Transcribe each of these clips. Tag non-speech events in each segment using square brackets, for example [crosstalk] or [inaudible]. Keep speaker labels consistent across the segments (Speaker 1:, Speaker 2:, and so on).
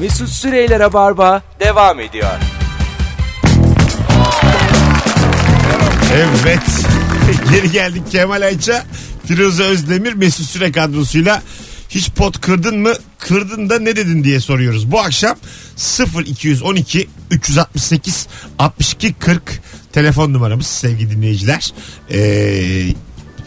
Speaker 1: Mesut Süreyler'e barba devam ediyor.
Speaker 2: Evet. [laughs] Geri geldik Kemal Ayça, Firuze Özdemir, Mesut Süre kadrosuyla hiç pot kırdın mı? Kırdın da ne dedin diye soruyoruz. Bu akşam 0212 368 62 40 telefon numaramız sevgili dinleyiciler. Ee,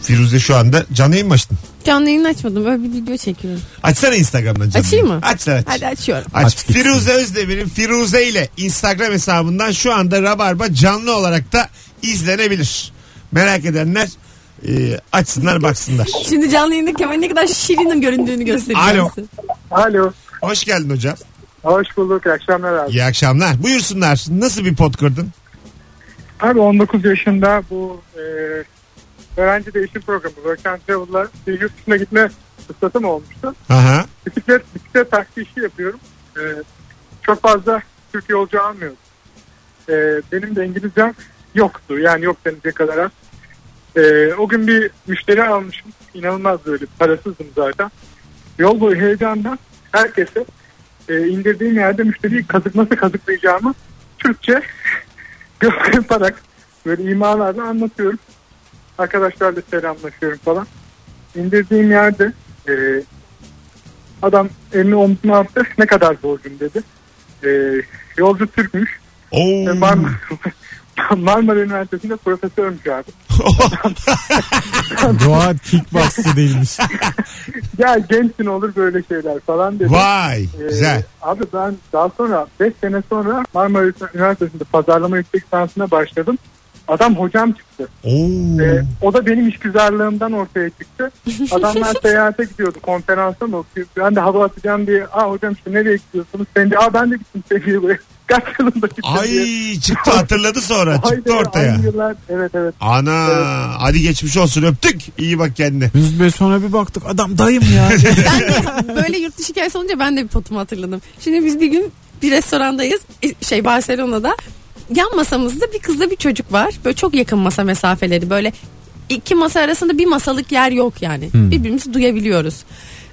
Speaker 2: Firuze şu anda canlı yayın mı açtın?
Speaker 3: Canlı yayın açmadım. Böyle bir video çekiyorum.
Speaker 2: Açsana Instagram'dan canlı
Speaker 3: Açayım
Speaker 2: yayın.
Speaker 3: mı?
Speaker 2: Aç sen aç.
Speaker 3: Hadi açıyorum.
Speaker 2: Aç.
Speaker 4: Aç gitsin.
Speaker 2: Firuze Özdemir'in Firuze ile Instagram hesabından şu anda Rabarba canlı olarak da izlenebilir. Merak edenler e, açsınlar baksınlar.
Speaker 3: Şimdi canlı yayında Kemal'in ne kadar şirinim göründüğünü göstereceğim
Speaker 2: Alo.
Speaker 3: size.
Speaker 5: Alo.
Speaker 2: Hoş geldin hocam.
Speaker 5: Hoş bulduk. İyi akşamlar abi.
Speaker 2: İyi akşamlar. Buyursunlar. Nasıl bir pot kırdın?
Speaker 5: Abi 19 yaşında bu e, öğrenci değişim programı Work and Travel'la bir yurt dışına gitme fırsatım olmuştu.
Speaker 2: Aha.
Speaker 5: Bisiklet, bisiklet taksi işi yapıyorum. E, çok fazla Türk yolcu almıyorum. E, benim de İngilizcem yoktu. Yani yok denecek kadar az. E, o gün bir müşteri almışım. İnanılmaz böyle parasızdım zaten. Yol boyu heyecandan herkese e, indirdiğim yerde müşteriyi kazık nasıl kazıklayacağımı Türkçe [laughs] göz yaparak böyle imalarla anlatıyorum. Arkadaşlarla selamlaşıyorum falan. İndirdiğim yerde e, adam elini omzuma attı. Ne kadar borcum dedi. E, yolcu Türkmüş.
Speaker 2: Oo.
Speaker 5: E, Marmara,
Speaker 2: [laughs]
Speaker 5: Marmara [laughs] Üniversitesi'nde profesörmüş abi.
Speaker 4: Doğa kickboxçı değilmiş.
Speaker 5: Ya gençsin olur böyle şeyler falan dedi.
Speaker 2: Vay.
Speaker 5: Ee,
Speaker 2: Güzel.
Speaker 5: Abi ben daha sonra 5 sene sonra Marmara Üniversitesi'nde pazarlama yüksek lisansına başladım. Adam hocam çıktı.
Speaker 2: Oo.
Speaker 5: Ee, o da benim işgüzarlığımdan ortaya çıktı.
Speaker 2: [laughs]
Speaker 5: Adamlar seyahate gidiyordu konferansa mı? okuyor? Ben de hava atacağım diye. Aa hocam işte nereye gidiyorsunuz? Sen de, aa ben de gittim sevgili buraya. [laughs] Kaç yılında gittim diye.
Speaker 2: Ay çıktı hatırladı sonra.
Speaker 5: e, Haydi, E,
Speaker 2: çıktı ortaya.
Speaker 5: aynı yıllar- evet evet.
Speaker 2: Ana.
Speaker 5: Evet.
Speaker 2: Hadi geçmiş olsun öptük. İyi bak kendine. [laughs]
Speaker 4: Biz be sonra bir baktık adam dayım ya.
Speaker 3: Ben de böyle yurt dışı hikayesi olunca ben de bir potumu hatırladım. Şimdi biz bir gün bir restorandayız. e, Şey Barcelona'da. Yan masamızda bir kızla bir çocuk var. Böyle çok yakın masa mesafeleri. Böyle iki masa arasında bir masalık yer yok yani. Birbirimizi duyabiliyoruz.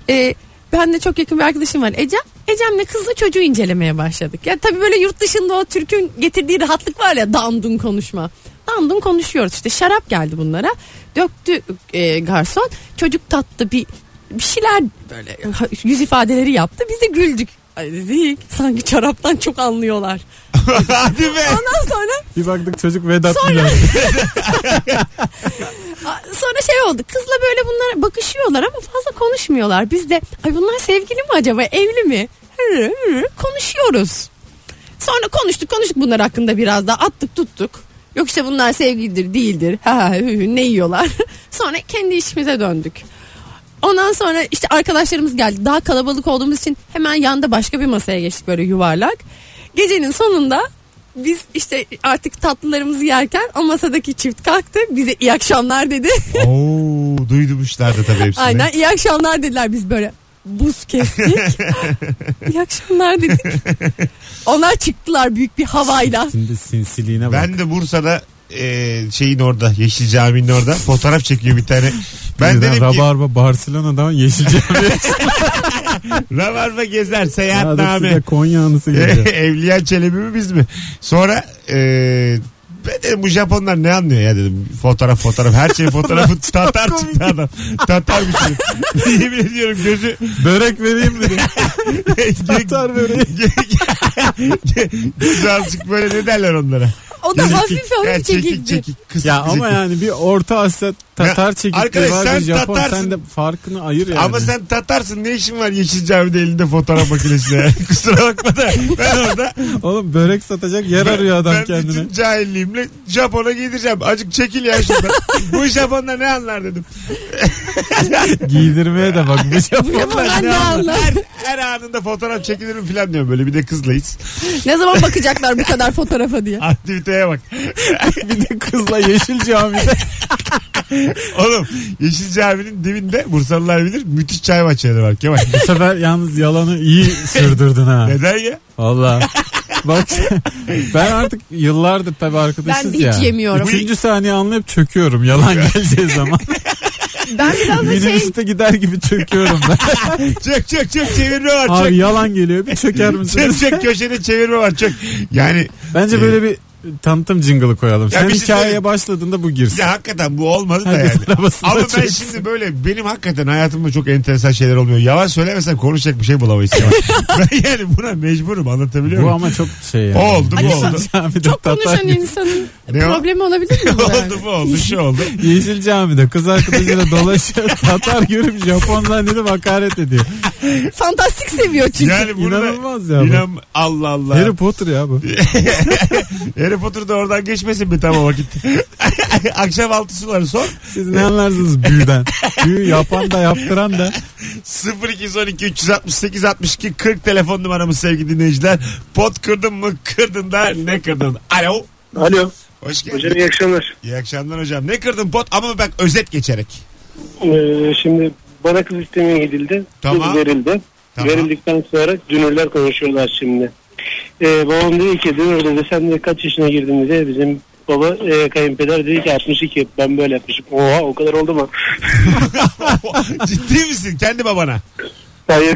Speaker 3: Ee, ben de çok yakın bir arkadaşım var Ecem. Ecem'le kızla çocuğu incelemeye başladık. Ya tabii böyle yurt dışında o Türk'ün getirdiği rahatlık var ya dandun konuşma. Dandun konuşuyoruz işte şarap geldi bunlara. Döktü e, garson. Çocuk tattı bir bir şeyler böyle yüz ifadeleri yaptı. Biz de güldük. Ay dedik sanki şaraptan çok anlıyorlar.
Speaker 2: Hadi be.
Speaker 3: Ondan sonra
Speaker 4: bir baktık çocuk Vedat
Speaker 3: Sonra-
Speaker 4: Bilal.
Speaker 3: sonra şey oldu. Kızla böyle bunlar bakışıyorlar ama fazla konuşmuyorlar. Biz de ay bunlar sevgili mi acaba evli mi? Hı, hı, Konuşuyoruz. Sonra konuştuk konuştuk bunlar hakkında biraz daha attık tuttuk. Yok işte bunlar sevgilidir değildir. Ha, ha, hı, hı, ne yiyorlar. [laughs] sonra kendi işimize döndük. Ondan sonra işte arkadaşlarımız geldi. Daha kalabalık olduğumuz için hemen yanda başka bir masaya geçtik böyle yuvarlak. Gecenin sonunda biz işte artık tatlılarımızı yerken o masadaki çift kalktı. Bize iyi akşamlar dedi.
Speaker 2: Oo, duydumuşlardı tabii hepsini.
Speaker 3: [laughs] Aynen iyi akşamlar dediler biz böyle buz
Speaker 2: [laughs]
Speaker 3: kestik. iyi akşamlar dedik. Onlar çıktılar büyük bir havayla.
Speaker 4: Şimdi sinsiliğine bak.
Speaker 2: Ben de Bursa'da e, şeyin orada Yeşil Cami'nin orada fotoğraf çekiyor bir tane. Ben
Speaker 4: Birden
Speaker 2: dedim ki
Speaker 4: Rabarba
Speaker 2: [laughs]
Speaker 4: Barcelona'dan Yeşilcam
Speaker 2: Rabarba gezer seyahatname.
Speaker 4: Adası Konya anısı geliyor.
Speaker 2: [laughs] Evliya Çelebi mi biz mi? Sonra e, ben dedim bu Japonlar ne anlıyor ya dedim. Fotoğraf fotoğraf her şey
Speaker 4: [laughs]
Speaker 2: fotoğrafı Tatar çıktı adam. Tatar bir şey. [laughs] Yemin ediyorum gözü
Speaker 4: [laughs] Börek
Speaker 2: [laughs]
Speaker 4: vereyim dedi. [laughs] Tatar böreği.
Speaker 2: gözü azıcık böyle ne derler onlara?
Speaker 3: O da hafif
Speaker 2: Ya
Speaker 3: hafif
Speaker 2: çekik
Speaker 3: çekildi.
Speaker 2: çekik. Kısık,
Speaker 4: Ya ama
Speaker 2: kısık.
Speaker 4: yani bir Orta Asya Tatar
Speaker 2: Ya,
Speaker 4: çekikliği
Speaker 2: arkadaş
Speaker 4: var.
Speaker 2: sen
Speaker 4: bir Japon
Speaker 2: Tatarsın.
Speaker 4: sen de farkını ayır yani.
Speaker 2: Ama sen Tatarsın ne işin var Yeşil Cami'de elinde fotoğraf makinesine? [laughs] Kusura bakma da ben orada
Speaker 4: Oğlum börek satacak yer arıyor adam
Speaker 2: ben
Speaker 4: kendine.
Speaker 2: bütün cahilliğimle Japon'a gideceğim. Acık çekil ya
Speaker 4: [laughs]
Speaker 2: şuradan. Bu Japonlar ne anlar dedim.
Speaker 4: [laughs] Giydirmeye de bakmış.
Speaker 3: Bu
Speaker 2: [laughs]
Speaker 3: Japonlar ne anlar?
Speaker 2: Her, her anında fotoğraf çekilirim falan diyorum böyle. Bir de kızla hiç.
Speaker 3: Ne zaman bakacaklar bu kadar fotoğrafa diye.
Speaker 2: Aktiviteye bak.
Speaker 4: [laughs]
Speaker 2: [laughs]
Speaker 4: bir de kızla Yeşil Cami'de.
Speaker 2: Oğlum Yeşil Cami'nin dibinde Bursalılar bilir müthiş çay bahçeleri var
Speaker 4: [laughs]
Speaker 2: Kemal.
Speaker 4: [laughs] Bu sefer yalnız yalanı iyi sürdürdün ha.
Speaker 2: Neden ya?
Speaker 4: Valla. Bak ben artık yıllardır tabii arkadaşız
Speaker 3: Ben de
Speaker 4: ya.
Speaker 3: hiç yemiyorum. [laughs]
Speaker 4: Üçüncü saniye anlayıp çöküyorum yalan geleceği zaman.
Speaker 3: Ben biraz da şey
Speaker 4: Minibüste gider gibi çöküyorum
Speaker 3: [laughs]
Speaker 4: ben.
Speaker 2: Çök çök çök çevirme var
Speaker 4: Abi
Speaker 2: çök.
Speaker 4: yalan geliyor. Bir çöker
Speaker 2: Çök
Speaker 4: misiniz?
Speaker 2: çök köşede çevirme var çök. Yani
Speaker 4: Bence böyle bir tanıtım jingle'ı koyalım. Sen
Speaker 2: bir şey söyleyeyim.
Speaker 4: hikayeye başladığında bu
Speaker 2: [laughs]
Speaker 4: girsin.
Speaker 2: ya hakikaten bu olmadı da
Speaker 4: Herkes
Speaker 2: yani.
Speaker 4: arabasında
Speaker 2: Ama ben
Speaker 4: çöksün.
Speaker 2: şimdi böyle benim hakikaten hayatımda çok enteresan şeyler olmuyor. Yalan söylemesem konuşacak bir şey bulamayız.
Speaker 4: [laughs]
Speaker 2: Kemal. ben yani buna mecburum anlatabiliyor
Speaker 4: Bu
Speaker 2: muyum?
Speaker 4: ama çok şey yani.
Speaker 2: O oldu bu oldu.
Speaker 4: Camide
Speaker 3: çok
Speaker 4: Tatar
Speaker 3: konuşan
Speaker 4: gibi.
Speaker 3: insanın
Speaker 2: Ne o?
Speaker 3: problemi olabilir mi?
Speaker 2: [laughs]
Speaker 3: bu yani?
Speaker 2: oldu bu oldu şu
Speaker 4: [laughs]
Speaker 2: oldu.
Speaker 4: Yeşil camide kız arkadaşıyla dolaşıyor. [laughs] Tatar görüp Japon zannedip hakaret ediyor.
Speaker 3: Fantastik seviyor çünkü.
Speaker 2: Yani burada
Speaker 4: İnanılmaz ya bu.
Speaker 2: İnan, Allah Allah.
Speaker 4: Harry
Speaker 2: Harry,
Speaker 4: Potter ya bu.
Speaker 2: Potter da oradan geçmesin bir tam o vakit. [laughs] Akşam altı suları sor.
Speaker 4: Siz ne anlarsınız büyüden? Büyü yapan da yaptıran da.
Speaker 2: 0212 368 62 40 telefon numaramız sevgili dinleyiciler. Pot kırdın mı kırdın da ne kırdın? Alo.
Speaker 5: Alo.
Speaker 2: Hoş geldin.
Speaker 5: Hocam iyi akşamlar.
Speaker 2: İyi akşamlar hocam. Ne kırdın pot ama bak özet geçerek. [laughs]
Speaker 5: Ee, şimdi bana kız istemeye gidildi.
Speaker 2: Tamam.
Speaker 5: Kız verildi.
Speaker 2: Tamam.
Speaker 5: Verildikten sonra dünürler konuşuyorlar şimdi. Ee, babam dedi ki dünür dedi sen de kaç yaşına girdin dedi. Bizim baba e, kayınpeder dedi ki 62 ben böyle yapmışım. Oha o kadar oldu mu? [laughs]
Speaker 2: Ciddi misin? Kendi babana.
Speaker 5: Hayır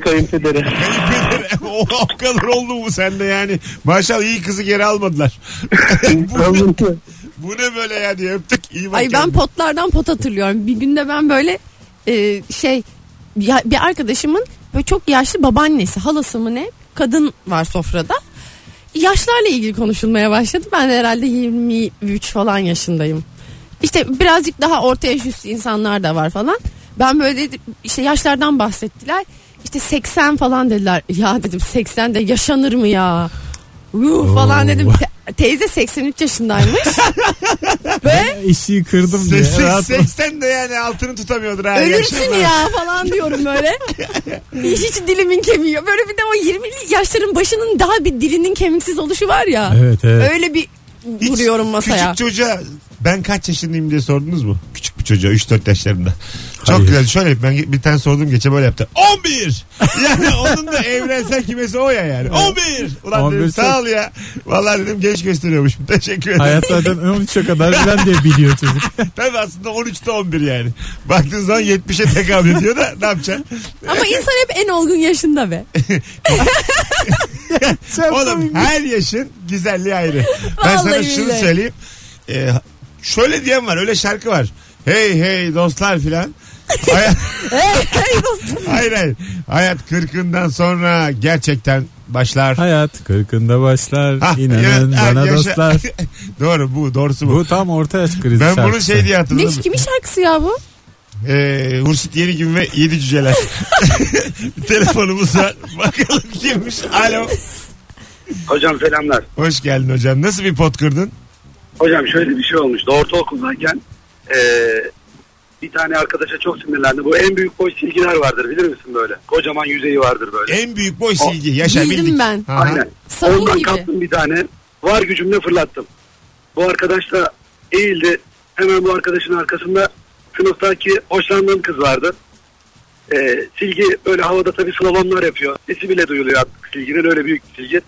Speaker 2: [laughs]
Speaker 5: kayınpederi.
Speaker 2: Kayınpeder. o, o kadar Oh, oldu mu sende yani? Maşallah iyi kızı geri almadılar. [laughs] bu, bu ne böyle ya diye öptük. İyi bak
Speaker 3: Ay ben [laughs]
Speaker 2: kendine.
Speaker 3: potlardan pot hatırlıyorum. Bir günde ben böyle e, şey ya, bir arkadaşımın böyle çok yaşlı babaannesi halası mı ne kadın var sofrada. Yaşlarla ilgili konuşulmaya başladı. Ben de herhalde 23 falan yaşındayım. İşte birazcık daha orta yaş üstü insanlar da var falan. Ben böyle dedim, işte yaşlardan bahsettiler. İşte 80 falan dediler. Ya dedim 80 de yaşanır mı ya? Yuh falan dedim. Te- teyze 83 yaşındaymış. Ve
Speaker 4: İşi kırdım diye.
Speaker 2: Sessiz,
Speaker 4: Rahat ol.
Speaker 2: 80 de yani altını tutamıyordur. ha.
Speaker 3: Ölürsün
Speaker 2: Yaşlanır.
Speaker 3: ya falan diyorum böyle. Hiç, hiç dilimin kemiği yok. Böyle bir de o 20'li yaşların başının daha bir dilinin kemiksiz oluşu var ya.
Speaker 4: Evet evet.
Speaker 3: Öyle bir
Speaker 2: Hiç
Speaker 3: vuruyorum masaya.
Speaker 2: Küçük çocuğa ben kaç yaşındayım diye sordunuz mu? Küçük bir çocuğa 3-4 yaşlarında. Çok
Speaker 4: Hayır.
Speaker 2: güzel. Şöyle ben bir tane sordum geçe böyle yaptı.
Speaker 3: [laughs]
Speaker 2: 11! Yani onun da evrensel kimesi o ya yani. 11! Ulan
Speaker 4: 11
Speaker 2: dedim sağ ol ya. Vallahi dedim genç gösteriyormuş. [laughs] Teşekkür ederim.
Speaker 4: Hayat zaten 13'e kadar bilen diye biliyor çocuk.
Speaker 2: Tabii aslında 13'te 11 yani. Baktığın zaman 70'e tekabül ediyor da ne
Speaker 3: [laughs]
Speaker 2: yapacaksın?
Speaker 3: Ama insan hep en olgun yaşında be.
Speaker 2: Oğlum her yaşın güzelliği ayrı. ben sana
Speaker 3: Vallahi
Speaker 2: şunu
Speaker 3: billahi.
Speaker 2: söyleyeyim. Ee, şöyle diyen var öyle şarkı var. Hey hey dostlar
Speaker 3: [laughs]
Speaker 2: filan. Hayat- hayır hayır. Hayat kırkından sonra gerçekten başlar.
Speaker 4: Hayat kırkında başlar.
Speaker 2: Hah,
Speaker 4: inanın
Speaker 2: evet, ha,
Speaker 4: bana
Speaker 2: yaşa-
Speaker 4: dostlar.
Speaker 2: [laughs] Doğru bu doğrusu bu.
Speaker 4: Bu tam orta yaş krizi
Speaker 2: ben bunu
Speaker 4: şarkısı.
Speaker 2: şey diye
Speaker 3: ne,
Speaker 2: hatırladım.
Speaker 3: kimin şarkısı ya bu?
Speaker 2: Ee, Hurşit Yenigün ve Yedi
Speaker 3: [laughs]
Speaker 2: Cüceler. Telefonumuz var. Bakalım kimmiş. Alo.
Speaker 6: Hocam selamlar.
Speaker 2: Hoş geldin hocam. Nasıl bir pot kırdın?
Speaker 6: Hocam şöyle bir şey olmuştu. Ortaokuldayken eee bir tane arkadaşa çok sinirlendi. Bu en büyük boy silgiler vardır bilir misin böyle? Kocaman yüzeyi vardır böyle.
Speaker 2: En büyük boy silgi. Yaşa
Speaker 3: Bildim
Speaker 2: bildik.
Speaker 3: ben.
Speaker 2: Aha.
Speaker 6: Aynen.
Speaker 3: Savun
Speaker 6: Ondan
Speaker 3: gibi.
Speaker 6: kaptım bir tane. Var gücümle fırlattım. Bu arkadaş da eğildi. Hemen bu arkadaşın arkasında sınıftaki hoşlandığım kız vardı. Ee, silgi böyle havada tabii slalomlar yapıyor. Sesi bile duyuluyor artık silginin öyle büyük bir silgi.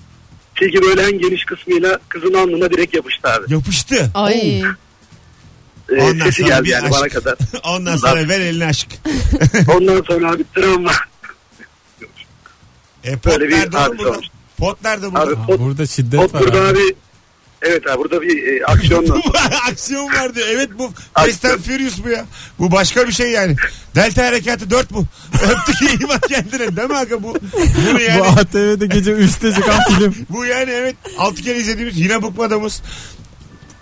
Speaker 6: Silgi böyle en geniş kısmıyla kızın alnına direkt yapıştı abi.
Speaker 2: Yapıştı.
Speaker 3: Ay.
Speaker 6: Ee,
Speaker 2: Ondan
Speaker 6: sesi
Speaker 2: sonra
Speaker 6: geldi
Speaker 2: bir
Speaker 6: yani
Speaker 2: aşk.
Speaker 6: bana kadar.
Speaker 2: [laughs] Ondan sonra ver eline aşk.
Speaker 6: Ondan sonra abi travma.
Speaker 2: E, pot
Speaker 6: Böyle bir
Speaker 2: nerede oğlum
Speaker 6: hadise
Speaker 2: burada?
Speaker 6: olmuş.
Speaker 2: Pot nerede
Speaker 6: Abi
Speaker 2: burada?
Speaker 4: Aa, burada şiddet
Speaker 6: Hop
Speaker 4: var.
Speaker 6: burada
Speaker 4: abi.
Speaker 6: abi. Evet abi burada bir e, aksiyonla.
Speaker 2: [laughs] Aksiyon vardı. Evet bu
Speaker 6: Aksiyon.
Speaker 2: Fast and Furious bu ya. Bu başka bir şey yani. Delta harekatı 4 bu. [laughs] Öptük iyi bak kendine. Değil mi aga bu? Bunu
Speaker 4: Bu
Speaker 2: yani.
Speaker 4: ATV'de gece 3'te çıkan film.
Speaker 2: Bu yani evet 6 kere izlediğimiz yine bıkmadığımız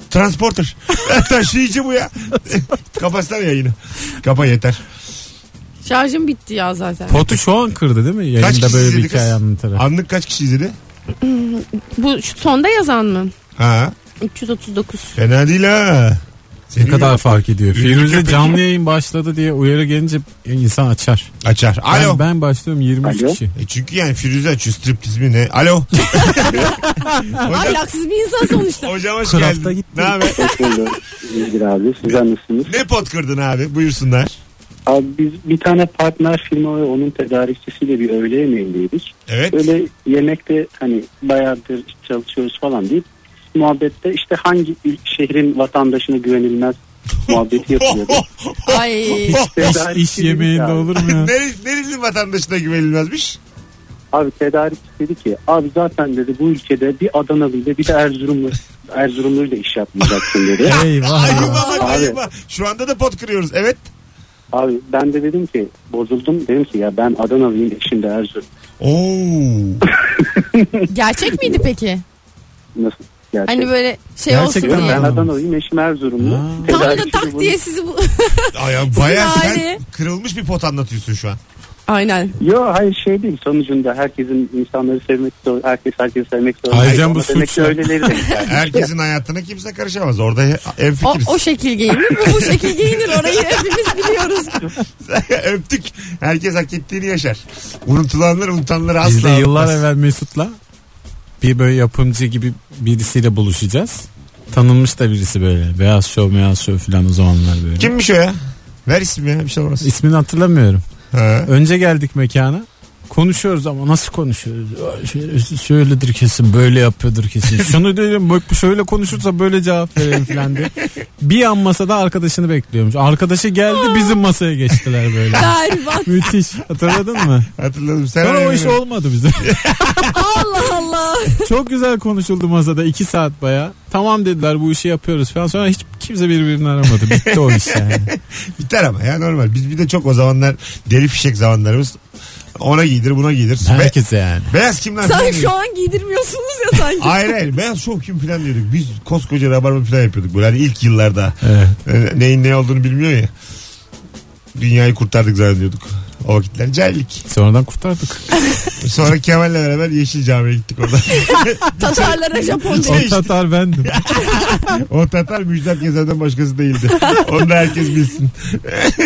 Speaker 2: Transporter. [laughs] Taşıyıcı bu ya. [laughs] Kapatsana yayını. Kapa yeter.
Speaker 3: Şarjım bitti ya zaten.
Speaker 4: Potu şu an kırdı değil mi?
Speaker 2: Kaç
Speaker 4: Yayında
Speaker 2: kişi
Speaker 4: böyle bir
Speaker 2: izledi
Speaker 4: hikaye
Speaker 2: kız?
Speaker 4: anlatarak.
Speaker 2: Anlık kaç kişi izledi?
Speaker 3: Bu şu sonda yazan mı?
Speaker 2: Ha.
Speaker 3: 339.
Speaker 2: Fena değil ha.
Speaker 4: Ne kadar
Speaker 2: Senin-
Speaker 4: fark ediyor.
Speaker 2: Ünlü
Speaker 4: Firuze
Speaker 2: köpek.
Speaker 4: canlı yayın başladı diye uyarı gelince insan açar.
Speaker 2: Açar. Alo.
Speaker 4: Ben, ben başlıyorum 23
Speaker 6: Alo.
Speaker 4: kişi.
Speaker 2: E çünkü yani Firuze açıyor striptiz mi ne?
Speaker 4: [laughs]
Speaker 2: Alo. hocam,
Speaker 3: Ahlaksız bir insan
Speaker 2: [laughs]
Speaker 3: sonuçta.
Speaker 2: hocam hoş
Speaker 4: Kraft'a
Speaker 2: geldin.
Speaker 4: gitti.
Speaker 2: Ne haber?
Speaker 7: Hoş bulduk. İyidir abi. Sizler nasılsınız?
Speaker 2: Ne pot kırdın abi? Buyursunlar.
Speaker 7: Abi biz bir tane partner firma ve onun tedarikçisiyle bir öğle yemeğindeydik.
Speaker 2: Evet. [laughs]
Speaker 7: Öyle yemekte hani bayağıdır çalışıyoruz falan deyip muhabbette işte hangi il- şehrin vatandaşına güvenilmez muhabbeti yapılıyordu.
Speaker 2: Oh,
Speaker 3: Ay.
Speaker 7: Tedarik
Speaker 4: İş yemeğinde olur mu ya?
Speaker 2: Nere, nereli vatandaşına güvenilmezmiş?
Speaker 7: Abi tedarikçi dedi ki abi zaten dedi bu ülkede bir Adanalı ile bir de Erzurumlu Erzurumlu ile iş
Speaker 4: [laughs]
Speaker 7: yapmayacaksın dedi.
Speaker 4: Eyvah.
Speaker 2: Ayıp
Speaker 4: ya.
Speaker 2: ama
Speaker 7: Abi.
Speaker 2: ayıp. Şu anda da pot kırıyoruz. Evet.
Speaker 7: abi ben de dedim ki bozuldum dedim ki ya ben Adanalıyım eşim de Erzurum.
Speaker 2: Oo.
Speaker 3: Gerçek miydi peki?
Speaker 7: Nasıl? Gerçek.
Speaker 3: Hani böyle şey olsun
Speaker 4: Gerçekten
Speaker 7: Yok,
Speaker 3: diye.
Speaker 7: ben
Speaker 4: Anladım.
Speaker 7: Adanalıyım eşim Erzurumlu.
Speaker 4: Ha.
Speaker 3: Tam da
Speaker 7: Tedarikçi de
Speaker 3: tak
Speaker 7: bunu-
Speaker 3: diye sizi bu... [laughs]
Speaker 2: Aya baya
Speaker 3: Sizin
Speaker 2: sen
Speaker 3: aile.
Speaker 2: kırılmış bir pot anlatıyorsun şu an.
Speaker 3: Aynen.
Speaker 7: Yo hayır şey değil sonucunda herkesin insanları sevmek zor, herkes herkesi sevmek zor.
Speaker 4: Ay Can, bu
Speaker 7: Demek
Speaker 4: suç
Speaker 7: ki
Speaker 4: ya.
Speaker 7: öyleleri
Speaker 4: [laughs]
Speaker 7: de güzel.
Speaker 2: Herkesin hayatına kimse karışamaz. Orada en
Speaker 3: O,
Speaker 2: fikiriz.
Speaker 3: o şekil giyinir, bu bu şekil giyinir. Orayı hepimiz biliyoruz.
Speaker 2: [laughs] Öptük. Herkes hak ettiğini yaşar. Unutulanlar unutanları asla.
Speaker 4: Biz de yıllar
Speaker 2: unutmaz.
Speaker 4: evvel Mesut'la bir böyle yapımcı gibi birisiyle buluşacağız. Tanınmış da birisi böyle. Beyaz şov, beyaz şov filan o zamanlar böyle.
Speaker 2: Kimmiş o ya? Ver ismi ya bir şey olmaz.
Speaker 4: İsmini hatırlamıyorum.
Speaker 2: Ha.
Speaker 4: Önce geldik mekana. Konuşuyoruz ama nasıl konuşuyoruz? Şöyle, şöyledir kesin böyle yapıyordur
Speaker 2: [laughs]
Speaker 4: kesin. Şunu diyorum bak şöyle konuşursa böyle cevap verelim falan diye. Bir yan masada arkadaşını bekliyormuş. Arkadaşı geldi bizim masaya geçtiler
Speaker 2: [laughs]
Speaker 4: böyle.
Speaker 3: Berbat.
Speaker 4: Müthiş hatırladın mı?
Speaker 2: Hatırladım. Sen
Speaker 4: Sonra o iş olmadı bize.
Speaker 3: Allah Allah.
Speaker 4: Çok güzel konuşuldu masada 2 saat baya. Tamam dediler bu işi yapıyoruz falan. Sonra hiç kimse birbirini aramadı. Bitti o
Speaker 2: [laughs]
Speaker 4: iş yani.
Speaker 2: Biter ama ya normal. Biz bir de çok o zamanlar deli fişek zamanlarımız. Ona giydir buna giydir. Be-
Speaker 4: Herkese yani.
Speaker 2: beyaz kim lan?
Speaker 3: Sen
Speaker 2: Bilmiyorum.
Speaker 3: şu an giydirmiyorsunuz ya sanki.
Speaker 2: Hayır hayır beyaz şov kim filan diyorduk. Biz koskoca rabarba filan yapıyorduk. Böyle hani ilk yıllarda.
Speaker 4: Evet.
Speaker 2: Ee, Neyin ne olduğunu bilmiyor ya. Dünyayı kurtardık zannediyorduk. O vakitler cahillik.
Speaker 4: Sonradan kurtardık.
Speaker 2: Sonra Kemal'le beraber Yeşil Cami'ye gittik orada.
Speaker 3: Tatarlara
Speaker 2: Şey-
Speaker 3: Japonca.
Speaker 4: O
Speaker 2: [laughs]
Speaker 4: Tatar bendim.
Speaker 2: o Tatar Müjdat Gezer'den başkası
Speaker 4: [laughs]
Speaker 2: değildi. Onu da herkes bilsin.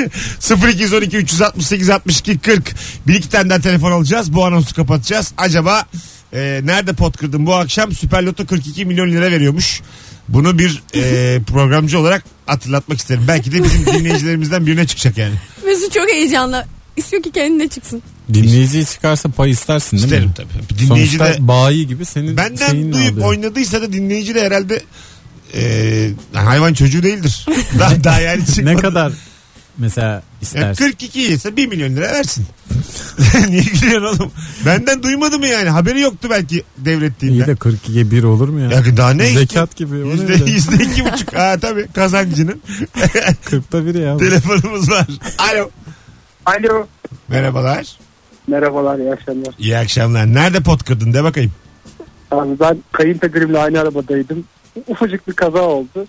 Speaker 2: 0212 368 62 40 Bir iki tane daha telefon alacağız. Bu anonsu kapatacağız. Acaba e, nerede pot kırdın bu akşam? Süper Loto 42 milyon lira veriyormuş. Bunu bir
Speaker 4: [laughs]
Speaker 2: e, programcı olarak hatırlatmak isterim. Belki de bizim dinleyicilerimizden birine çıkacak yani.
Speaker 3: Mesut çok heyecanlı. İstiyor ki kendine çıksın.
Speaker 4: Dinleyici çıkarsa pay istersin değil
Speaker 2: İsterim
Speaker 4: mi?
Speaker 2: tabii. Dinleyici
Speaker 4: Sonuçta
Speaker 2: de
Speaker 4: bayi gibi senin
Speaker 2: benden
Speaker 4: şeyinle
Speaker 2: duyup
Speaker 4: alıyor.
Speaker 2: oynadıysa da dinleyici de herhalde e, hayvan çocuğu değildir. Daha, daha yani
Speaker 4: [laughs] Ne
Speaker 2: çıkmadı.
Speaker 4: kadar mesela
Speaker 2: Ya
Speaker 4: istersin?
Speaker 2: 42 ise 1 milyon lira versin. [laughs] Niye gülüyorsun oğlum? Benden duymadı mı yani? Haberi yoktu belki
Speaker 4: İyi
Speaker 2: devrettiğinden.
Speaker 4: de 42'ye 1 olur mu ya?
Speaker 2: Ya daha ne?
Speaker 4: Zekat gibi. o ne
Speaker 2: Yüzde,
Speaker 4: öyle?
Speaker 2: yüzde iki
Speaker 4: [laughs]
Speaker 2: buçuk. Ha tabii kazancının.
Speaker 4: 40'ta 1 ya.
Speaker 2: Telefonumuz var. Alo.
Speaker 5: Alo.
Speaker 2: Merhabalar.
Speaker 7: Merhabalar iyi akşamlar.
Speaker 2: İyi akşamlar. Nerede pot kırdın de bakayım. [laughs]
Speaker 7: Abi ben kayınpederimle aynı arabadaydım. Ufacık bir kaza oldu.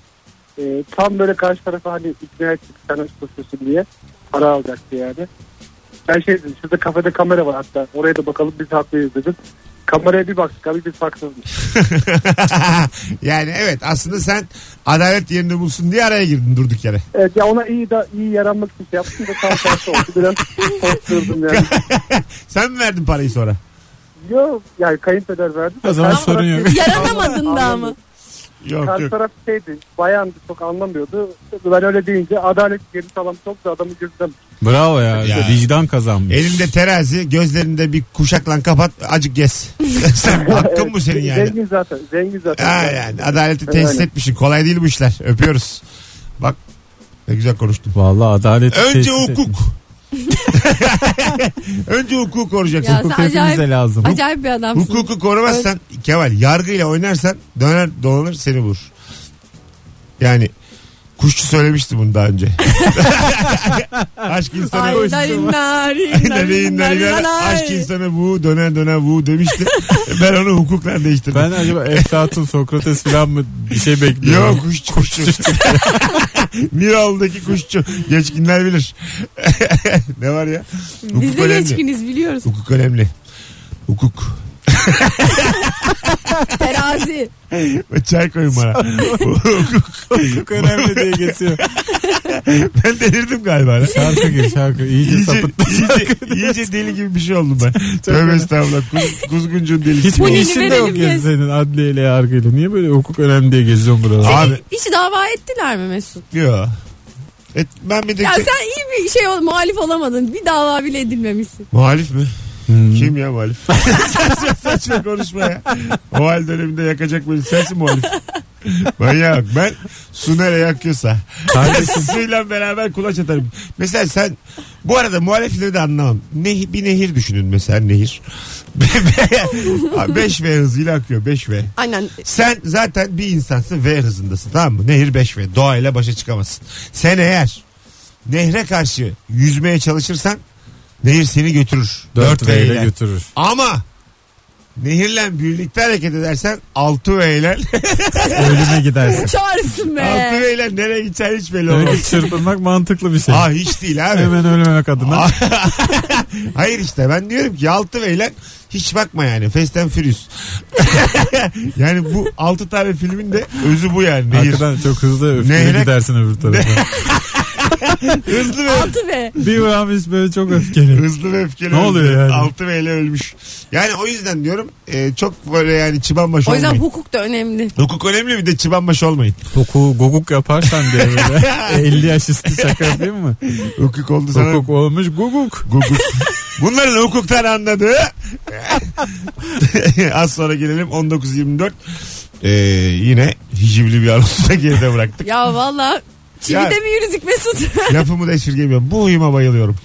Speaker 7: Ee, tam böyle karşı tarafa hani ikna ettik sen hoş bakıyorsun diye. Para alacaktı yani. Ben şey dedim şurada kafede kamera var hatta. Oraya da bakalım biz haklıyız dedim. Kameraya bir baktık abi biz haksızmış.
Speaker 2: yani evet aslında sen adalet yerini bulsun diye araya girdin durduk yere.
Speaker 7: Evet ya ona iyi da iyi yaranmak için şey yaptım da tam tersi oldu. Biraz [laughs]
Speaker 4: [laughs]
Speaker 7: korkturdum yani.
Speaker 2: Sen mi verdin parayı sonra?
Speaker 7: Yok yani kayınpeder verdi.
Speaker 4: O zaman
Speaker 7: Karşı
Speaker 4: sorun
Speaker 7: taraf-
Speaker 4: yok.
Speaker 3: Yaranamadın da ama.
Speaker 2: Yok
Speaker 7: Karşı
Speaker 2: yok.
Speaker 7: taraf şeydi bayandı çok anlamıyordu. Ben öyle deyince adalet geri salam çok da adamı gözden
Speaker 4: Bravo ya.
Speaker 2: Ya.
Speaker 4: Vicdan kazanmış.
Speaker 2: Elinde terazi gözlerinde bir kuşakla kapat acık gez.
Speaker 3: [laughs]
Speaker 2: sen [laughs] hakkın bu senin yani.
Speaker 7: Zengin zaten. Zengin zaten.
Speaker 2: Ha yani adaleti tesis
Speaker 7: Öyle.
Speaker 2: etmişsin. Kolay değil bu işler. Öpüyoruz. Bak ne güzel konuştum.
Speaker 4: Vallahi adalet
Speaker 2: Önce hukuk. [laughs] Önce hukuku koruyacaksın.
Speaker 3: Ya
Speaker 4: Hukuk
Speaker 3: sen
Speaker 4: hepimize
Speaker 3: acayip-
Speaker 4: lazım.
Speaker 3: Acayip bir adamsın.
Speaker 2: Hukuku korumazsan Kemal yargıyla oynarsan döner dolanır seni vurur. Yani kuşçu söylemişti bunu daha
Speaker 3: [laughs]
Speaker 2: önce. Aşk insanı
Speaker 3: Ay, narin, narin,
Speaker 2: Nereyin
Speaker 3: narin, narin,
Speaker 2: nereyin
Speaker 3: narin.
Speaker 2: aşk insanı bu döner döner bu demişti. ben onu hukukla değiştirdim.
Speaker 4: Ben acaba Eflatun, Sokrates falan mı bir şey bekliyorum?
Speaker 2: Yok kuşçu. kuşçu. [laughs] Miralı'daki kuşçu. Geçkinler bilir. [laughs] ne var ya? Hukuk
Speaker 3: Biz de
Speaker 2: önemli.
Speaker 3: geçkiniz biliyoruz.
Speaker 2: Hukuk önemli. Hukuk.
Speaker 3: Terazi.
Speaker 2: Çay koyun bana. Hukuk.
Speaker 4: Hukuk önemli diye geçiyor.
Speaker 2: [laughs] Ben delirdim galiba. lan.
Speaker 4: Şarkı gir şarkı. İyice
Speaker 2: İyice,
Speaker 4: sapıttı.
Speaker 2: iyice, iyice deli gibi bir şey oldum ben. Tövbe estağfurullah. Kuz, kuzguncuğun delisi.
Speaker 4: Hiçbir
Speaker 2: oldum.
Speaker 3: Bunun
Speaker 4: işin de
Speaker 3: verelim
Speaker 4: yok ya
Speaker 3: biz.
Speaker 4: senin adliyeyle yargıyla. Niye böyle hukuk önemli diye geziyorsun buralarda?
Speaker 2: Abi
Speaker 3: İşi dava ettiler mi Mesut?
Speaker 2: diyor. Et, ben bir de
Speaker 3: Ya sen iyi bir şey ol, muhalif olamadın. Bir dava bile edilmemişsin.
Speaker 2: muhalif mi?
Speaker 4: Hmm.
Speaker 2: Kim ya [laughs] muhalif? saçma saçma konuşma ya. O hal döneminde yakacak beni. Sensin muhalif. Manyağa bak. Ben su nereye akıyorsa.
Speaker 4: Kardeşim.
Speaker 2: Suyla beraber kulaç atarım. Mesela sen bu arada muhalefetleri de anlamam. Ne, bir nehir düşünün mesela nehir. [laughs] 5 V hızıyla akıyor 5 V.
Speaker 3: Aynen.
Speaker 2: Sen zaten bir insansın V hızındasın tamam mı? Nehir 5 V. Doğayla başa çıkamazsın. Sen eğer nehre karşı yüzmeye çalışırsan nehir seni götürür.
Speaker 4: 4 V ile
Speaker 2: V'yle.
Speaker 4: götürür.
Speaker 2: Ama nehirle birlikte hareket edersen 6 V'yle [laughs]
Speaker 4: Ölüme gidersin.
Speaker 3: Uçarsın be.
Speaker 2: 6 V'yle nereye gideceğin hiç belli olmaz.
Speaker 4: Öyle çırpınmak mantıklı bir şey.
Speaker 2: Aa hiç değil abi.
Speaker 4: Hemen ölmemek adına.
Speaker 2: Hayır işte ben diyorum ki altı beyler hiç bakma yani Fast and Furious. [laughs] yani bu altı tane filmin de özü bu yani. Nehir.
Speaker 4: Arkadan çok hızlı öfkeli
Speaker 2: Nehre-
Speaker 4: gidersin öbür tarafa.
Speaker 2: Hızlı ve
Speaker 3: Altı be.
Speaker 4: bir uyanmış böyle çok öfkeli.
Speaker 2: Hızlı ve öfkeli.
Speaker 4: Ne oluyor yani?
Speaker 2: Altı beyle ölmüş. Yani o yüzden diyorum e, çok böyle yani çıban baş
Speaker 3: O yüzden
Speaker 2: olmayın.
Speaker 3: hukuk da önemli.
Speaker 2: Hukuk önemli bir de çıban baş olmayın.
Speaker 4: Hukuku guguk yaparsan
Speaker 2: [laughs]
Speaker 4: diye böyle. 50 yaş üstü şaka yapayım mı?
Speaker 2: Hukuk oldu sana.
Speaker 4: Hukuk olmuş guguk.
Speaker 2: Hukuk. [laughs] Bunların hukuktan anladığı. [laughs] Az sonra gelelim 19.24. Ee, yine hicivli bir anonsu da geride bıraktık.
Speaker 3: [laughs] Ya valla çivide
Speaker 2: Ya-
Speaker 3: mi yürüdük Mesut? [laughs]
Speaker 2: Lafımı da esirgemiyorum. Bu huyuma bayılıyorum.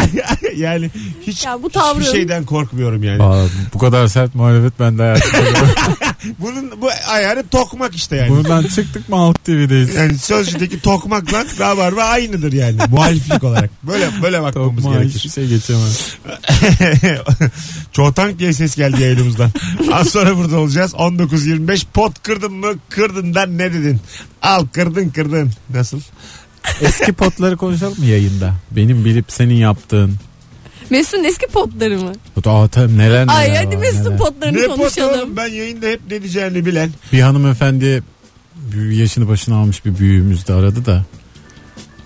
Speaker 2: [laughs] yani hiç
Speaker 3: Ya bu
Speaker 2: hiçbir
Speaker 3: tavrın-
Speaker 2: şeyden korkmuyorum yani.
Speaker 4: Aa, bu kadar sert muhalefet ben de hayatımda. görmedim.
Speaker 2: Bunun bu ayarı tokmak işte yani.
Speaker 4: Buradan çıktık mı Halk TV'deyiz.
Speaker 2: Yani sözcüdeki tokmakla rabarba aynıdır yani muhaliflik olarak. Böyle böyle bakmamız
Speaker 4: Tokma hiçbir
Speaker 2: gerekir. [laughs]
Speaker 4: şey geçemez.
Speaker 2: Çoğutank diye ses geldi yayınımızdan. Az sonra burada olacağız. 19.25 pot kırdın mı kırdın da ne dedin? Al kırdın kırdın. Nasıl?
Speaker 4: Eski potları konuşalım mı yayında? Benim bilip senin yaptığın.
Speaker 3: Mesut'un eski potları mı?
Speaker 4: Bu da Aa, tabii neler neler
Speaker 3: Ay hadi
Speaker 4: var,
Speaker 3: Mesut'un
Speaker 4: neler.
Speaker 3: potlarını
Speaker 2: ne pot oğlum
Speaker 3: konuşalım.
Speaker 2: ben yayında hep ne diyeceğini bilen.
Speaker 4: Bir hanımefendi büyü- yaşını başına almış bir büyüğümüz de aradı da.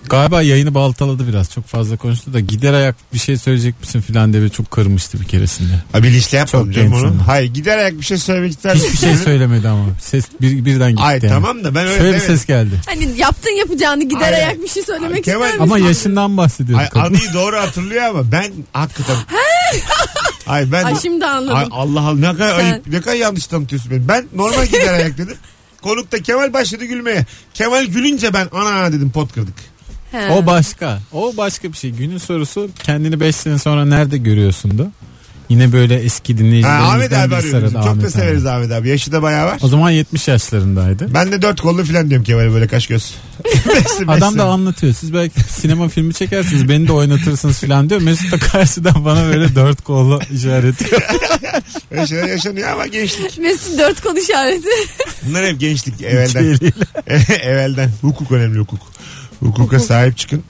Speaker 4: Galiba yayını baltaladı biraz. Çok fazla konuştu da gider ayak bir şey söyleyecek misin filan diye çok kırmıştı bir keresinde.
Speaker 2: Ha bilinçli yapmam
Speaker 4: Çok
Speaker 2: canım
Speaker 4: gençsin.
Speaker 2: onu. Hayır giderek bir şey söylemek ister
Speaker 4: Hiçbir şey
Speaker 2: misin?
Speaker 4: söylemedi ama. Ses bir, birden gitti.
Speaker 2: Ay
Speaker 4: yani.
Speaker 2: tamam da ben öyle
Speaker 4: Şöyle bir
Speaker 2: demedim.
Speaker 4: ses geldi.
Speaker 3: Hani yaptın yapacağını gider
Speaker 2: Ay,
Speaker 3: ayak bir şey söylemek
Speaker 2: Kemal-
Speaker 3: ister misin?
Speaker 4: Ama yaşından bahsediyordu
Speaker 2: Ay,
Speaker 4: kadın.
Speaker 2: anıyı doğru hatırlıyor ama ben hakikaten...
Speaker 3: [laughs]
Speaker 2: Ay ben...
Speaker 3: Ay şimdi anladım.
Speaker 2: Ay, Allah Allah ne kadar,
Speaker 3: Sen-
Speaker 2: ayıp, ne kadar yanlış tanıtıyorsun beni. Ben normal
Speaker 3: [laughs]
Speaker 2: gider ayak dedim. Konukta Kemal başladı gülmeye. Kemal gülünce ben ana dedim pot kırdık.
Speaker 3: He.
Speaker 4: O başka. O başka bir şey. Günün sorusu kendini 5 sene sonra nerede görüyorsundu? Yine böyle eski
Speaker 2: Ha,
Speaker 4: dinleyicilerimizden
Speaker 2: Ahmet abi
Speaker 4: birisi
Speaker 2: arıyor.
Speaker 4: aradı,
Speaker 2: bizi. Çok
Speaker 4: Ahmet
Speaker 2: da
Speaker 4: abi.
Speaker 2: severiz Ahmet abi. Yaşı da bayağı
Speaker 4: [laughs]
Speaker 2: var.
Speaker 4: O zaman 70 yaşlarındaydı.
Speaker 2: Ben de dört kollu falan diyorum Kemal'e böyle kaş
Speaker 4: [laughs]
Speaker 2: göz. Besin,
Speaker 4: Adam
Speaker 2: besin.
Speaker 4: da anlatıyor. Siz belki [laughs] sinema filmi çekersiniz. Beni de oynatırsınız filan diyor. Mesut da karşıdan bana böyle dört kollu işaret [laughs] ediyor.
Speaker 2: Öyle şeyler yaşanıyor ama gençlik.
Speaker 3: Mesut dört kol işareti. [laughs]
Speaker 2: Bunlar hep
Speaker 4: [laughs]
Speaker 2: gençlik. Evvelden. [laughs] evvelden. Hukuk önemli hukuk. Hukuka sahip çıkın.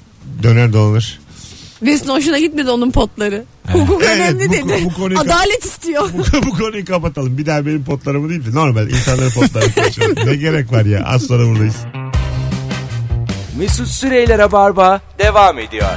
Speaker 2: Döner dolanır. [laughs]
Speaker 3: Mesut'un hoşuna gitmedi onun potları. Hukuk
Speaker 2: Evet,
Speaker 3: önemli
Speaker 2: bu-
Speaker 3: dedi.
Speaker 2: bu konuyu- [laughs]
Speaker 3: Adalet istiyor.
Speaker 2: bu, bu konuyu kapatalım. Bir daha benim potlarımı değil de normal
Speaker 3: [laughs]
Speaker 2: insanların potlarını konuşalım. ne gerek var ya? Az sonra buradayız.
Speaker 1: Mesut Süreyler'e barba devam ediyor.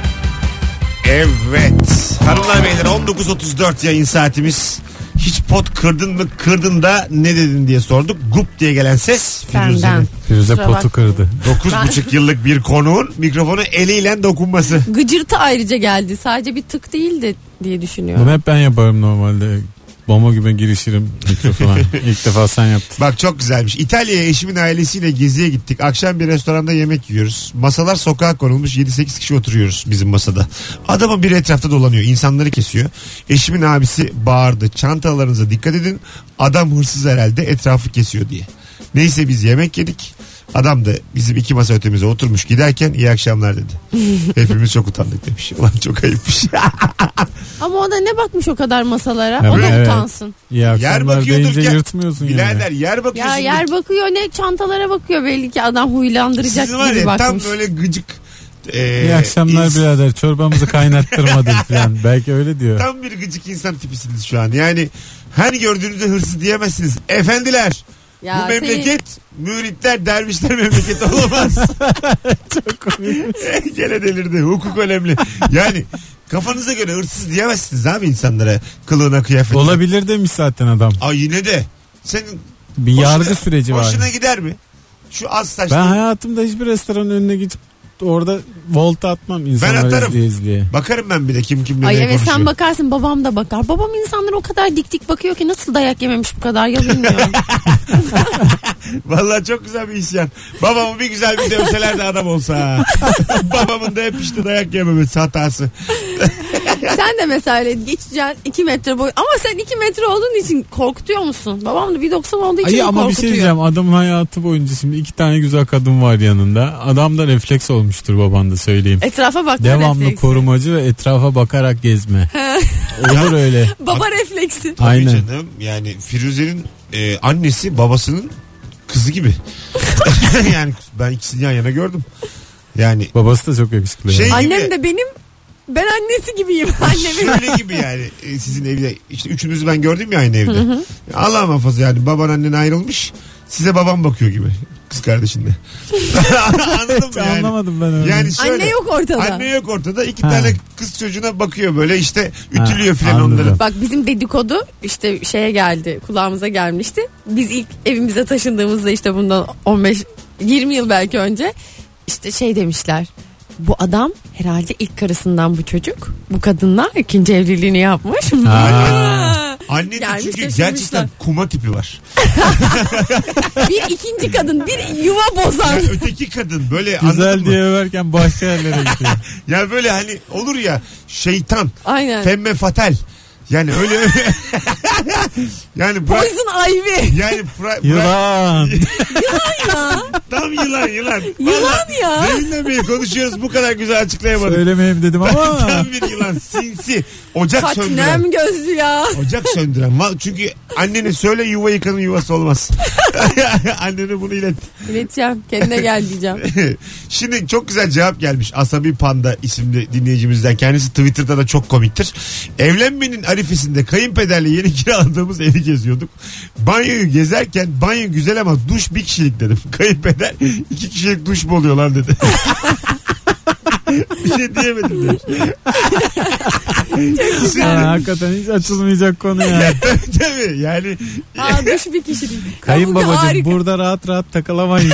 Speaker 2: Evet. Hanımlar beyler 19.34 yayın saatimiz. Hiç pot kırdın mı kırdın da ne dedin diye sorduk. Gup diye gelen ses Firuze'nin.
Speaker 4: Firuze
Speaker 3: Kusura
Speaker 4: potu
Speaker 3: bakma.
Speaker 4: kırdı.
Speaker 2: 9.5 yıllık bir konuğun mikrofonu eliyle dokunması.
Speaker 3: Gıcırtı ayrıca geldi. Sadece bir tık değildi diye düşünüyorum.
Speaker 4: Bunu hep ben yaparım normalde. Bomba gibi girişirim
Speaker 2: [laughs]
Speaker 4: mikrofona. İlk defa sen yaptın.
Speaker 2: Bak çok güzelmiş. İtalya'ya eşimin ailesiyle geziye gittik. Akşam bir restoranda yemek yiyoruz. Masalar sokağa konulmuş 7-8 kişi oturuyoruz bizim masada. Adamın biri etrafta dolanıyor. insanları kesiyor. Eşimin abisi bağırdı. Çantalarınıza dikkat edin. Adam hırsız herhalde etrafı kesiyor diye. Neyse biz yemek yedik. Adam da bizim iki masa ötemize oturmuş giderken iyi akşamlar
Speaker 4: [laughs]
Speaker 2: dedi. Hepimiz çok utandık demiş. Ulan çok ayıpmış.
Speaker 3: Ama o da ne bakmış o kadar masalara?
Speaker 4: Evet,
Speaker 3: o da
Speaker 4: evet.
Speaker 3: utansın.
Speaker 4: İyi akşamlar
Speaker 2: bakıyordur
Speaker 4: deyince
Speaker 2: ya.
Speaker 4: yırtmıyorsun
Speaker 2: Birader
Speaker 4: yani.
Speaker 2: yer bakıyorsun.
Speaker 3: Ya yer bakıyor ne çantalara bakıyor belli ki adam huylandıracak
Speaker 2: Siz var
Speaker 3: gibi
Speaker 2: ya tam
Speaker 3: bakmış.
Speaker 2: böyle gıcık. e,
Speaker 4: İyi akşamlar
Speaker 2: ins-
Speaker 4: birader
Speaker 2: [laughs]
Speaker 4: çorbamızı kaynattırmadın filan. Belki öyle diyor.
Speaker 2: Tam bir gıcık insan tipisiniz şu an. Yani her gördüğünüzde hırsız diyemezsiniz. Efendiler
Speaker 3: Ya
Speaker 2: bu
Speaker 3: seni-
Speaker 2: memleket müritler dervişler memleketi
Speaker 4: [laughs]
Speaker 2: olamaz. [laughs] Gene delirdi. Hukuk önemli. Yani kafanıza göre hırsız diyemezsiniz abi insanlara kılığına kıyafetine.
Speaker 4: Olabilir demiş zaten adam.
Speaker 2: Ay yine de. Senin
Speaker 4: Bir
Speaker 2: hoşuna-
Speaker 4: yargı süreci var.
Speaker 2: Hoşuna gider mi? Şu az saçlı.
Speaker 4: Ben hayatımda hiçbir restoranın önüne gidip orada volta atmam insanlar
Speaker 2: atarım.
Speaker 4: izleye izleye.
Speaker 2: Bakarım ben bir de kim kimle
Speaker 3: Ay
Speaker 2: ne
Speaker 3: evet
Speaker 2: konuşuyor.
Speaker 3: sen bakarsın babam da bakar. Babam insanlara o kadar dik dik bakıyor ki nasıl dayak yememiş bu kadar ya bilmiyorum.
Speaker 4: [laughs]
Speaker 2: Vallahi çok güzel bir isyan. Babamı bir güzel bir dövseler de adam olsa. [laughs] ha. Babamın da hep işte dayak yememesi hatası.
Speaker 3: sen de mesela öyle geçeceksin 2 metre boy. Ama sen 2 metre olduğun için korkutuyor musun? Babam da 1.90 olduğu için
Speaker 4: Ay
Speaker 3: de
Speaker 4: ama bir şey
Speaker 3: korkutuyor.
Speaker 4: diyeceğim adamın hayatı boyunca şimdi iki tane güzel kadın var yanında. Adam da refleks olmuştur baban da söyleyeyim.
Speaker 3: Etrafa bakma
Speaker 4: Devamlı
Speaker 3: refleksi.
Speaker 4: korumacı ve etrafa bakarak gezme. Olur öyle.
Speaker 3: Baba refleksi.
Speaker 2: Tabii
Speaker 4: Aynen.
Speaker 2: canım yani Firuze'nin e, annesi babasının kızı gibi. [laughs] yani ben ikisini yan yana gördüm. Yani
Speaker 4: Babası da çok yakışıklı.
Speaker 2: Şey-
Speaker 4: ya.
Speaker 3: Annem de benim ben annesi gibiyim [laughs] annemin.
Speaker 2: şöyle gibi yani e, sizin evde işte üçünüzü ben gördüm ya aynı evde. Allah muhafaza yani baban annen ayrılmış size babam bakıyor gibi kız kardeşinle. [laughs] Anladın mı yani?
Speaker 4: Anlamadım ben öyle.
Speaker 2: Yani şöyle,
Speaker 3: Anne yok ortada.
Speaker 2: Anne yok ortada. iki
Speaker 4: Ha.
Speaker 2: tane kız çocuğuna bakıyor böyle işte ütülüyor
Speaker 4: Ha,
Speaker 2: filan
Speaker 4: anladım.
Speaker 2: onları.
Speaker 3: Bak bizim dedikodu işte şeye geldi kulağımıza gelmişti. Biz ilk evimize taşındığımızda işte bundan 15 20 yıl belki önce işte şey demişler. Bu adam herhalde ilk karısından bu çocuk. Bu kadınla ikinci evliliğini yapmış. [laughs]
Speaker 4: Ha.
Speaker 2: Annenin
Speaker 3: Gelmiş
Speaker 2: çünkü
Speaker 3: taşımışlar.
Speaker 2: gerçekten kuma tipi
Speaker 3: [laughs]
Speaker 2: var.
Speaker 3: bir ikinci kadın bir yuva bozan.
Speaker 2: Ya öteki kadın böyle anladın
Speaker 4: Güzel
Speaker 2: mı?
Speaker 4: diye överken başka yerlere
Speaker 2: [laughs]
Speaker 4: gidiyor.
Speaker 2: Ya böyle hani olur ya şeytan.
Speaker 3: Aynen.
Speaker 2: Femme fatal. Yani öyle [laughs] yani bırak,
Speaker 3: Poison Ivy.
Speaker 2: yani bırak, bırak-
Speaker 4: [laughs] Yılan.
Speaker 3: Ya,
Speaker 2: tam yılan yılan.
Speaker 3: [laughs] Yılan ya.
Speaker 2: Seninle beri konuşuyoruz bu kadar güzel açıklayamadık.
Speaker 4: Söylemeyeyim dedim
Speaker 2: [laughs]
Speaker 4: ama.
Speaker 2: tam bir yılan sinsi. Ocak söndüren.
Speaker 3: Katnem gözlü ya.
Speaker 2: Ocak söndüren. Val- Çünkü annene söyle yuva yıkanın yuvası olmaz. [laughs] Annene bunu ilet. [laughs]
Speaker 3: İleteceğim. Kendine gel diyeceğim.
Speaker 2: Şimdi çok güzel cevap gelmiş Asabi Panda isimli dinleyicimizden. Kendisi Twitter'da da çok komiktir. Evlenmenin arifesinde kayınpederle yeni kiraladığımız evi geziyorduk. Banyoyu gezerken banyo güzel ama duş bir kişilik dedim. [laughs] Kayınpeder iki kişilik duş mu oluyor lan dedi. [laughs] bir şey diyemedim demiş. [laughs]
Speaker 4: [laughs] Ha, hakikaten hiç açılmayacak konu ya.
Speaker 2: Tabii tabii yani
Speaker 3: Aa, düş bir kişilik. Ya
Speaker 4: Kayınbabacım
Speaker 3: harika.
Speaker 4: burada rahat rahat takılamayız.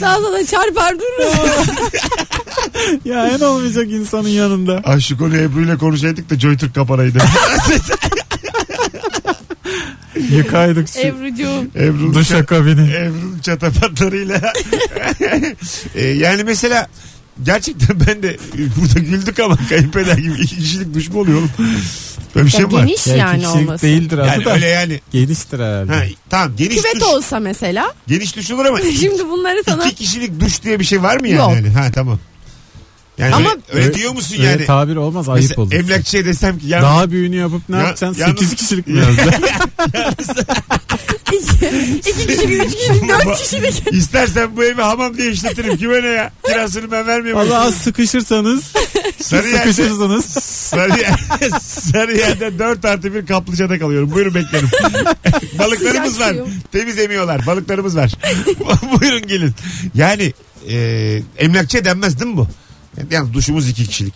Speaker 3: Sağ sola çarpar durur.
Speaker 4: [laughs] ya en olmayacak insanın yanında.
Speaker 2: Ay şu konu Ebru ile konuşaydık da Joytürk kapanaydı. [laughs]
Speaker 4: Yıkaydık
Speaker 3: [laughs]
Speaker 4: şu
Speaker 3: Ebru'cuğum.
Speaker 2: Ebru'nun
Speaker 4: duş akabini.
Speaker 2: Ebru'nun çatapatlarıyla. [laughs] E, yani mesela gerçekten ben de burada güldük ama kayınpeder gibi iki kişilik duş mu oluyor oğlum? Böyle bir şey mi var?
Speaker 3: geniş
Speaker 4: Ya iki
Speaker 3: yani
Speaker 4: kişilik
Speaker 3: olması.
Speaker 4: değildir adı
Speaker 2: Yani
Speaker 4: da.
Speaker 2: öyle yani.
Speaker 4: Geniştir herhalde.
Speaker 2: Ha, tamam geniş
Speaker 3: Küvet
Speaker 2: duş.
Speaker 3: olsa mesela. [laughs]
Speaker 2: Geniş duş olur ama
Speaker 3: Şimdi bunları sana
Speaker 2: iki kişilik duş diye bir şey var mı yani?
Speaker 3: Yok.
Speaker 2: Yani? Ha tamam. Yani
Speaker 3: Ama-
Speaker 2: öyle, öyle diyor musun
Speaker 4: Öyle
Speaker 2: yani?
Speaker 4: tabir olmaz
Speaker 2: Mesela
Speaker 4: ayıp olur.
Speaker 2: Emlakçıya desem ki ya
Speaker 4: Daha büyüğünü yapıp ne
Speaker 2: Ya-
Speaker 4: yapacaksın?
Speaker 2: yalnız-
Speaker 4: 8 kişilik mi yazacaksın?
Speaker 3: iki, iki kişilik, [laughs] üç kişilik, dört kişilik.
Speaker 2: İstersen bu evi hamam diye işletirim. Kime ne ya? Kirasını ben vermiyorum.
Speaker 4: Valla az sıkışırsanız,
Speaker 2: Sarıyer'de,
Speaker 4: sıkışırsanız.
Speaker 2: Sarıyer, [laughs] Sarıyer'de 4 artı 1 kaplıcada kalıyorum. Buyurun beklerim. Balıklarımız
Speaker 3: Sıcak
Speaker 2: var.
Speaker 3: suyum.
Speaker 2: Temiz emiyorlar. Balıklarımız var. [laughs] Buyurun gelin. Yani e, emlakçıya denmez değil mi bu? Yani duşumuz iki kişilik.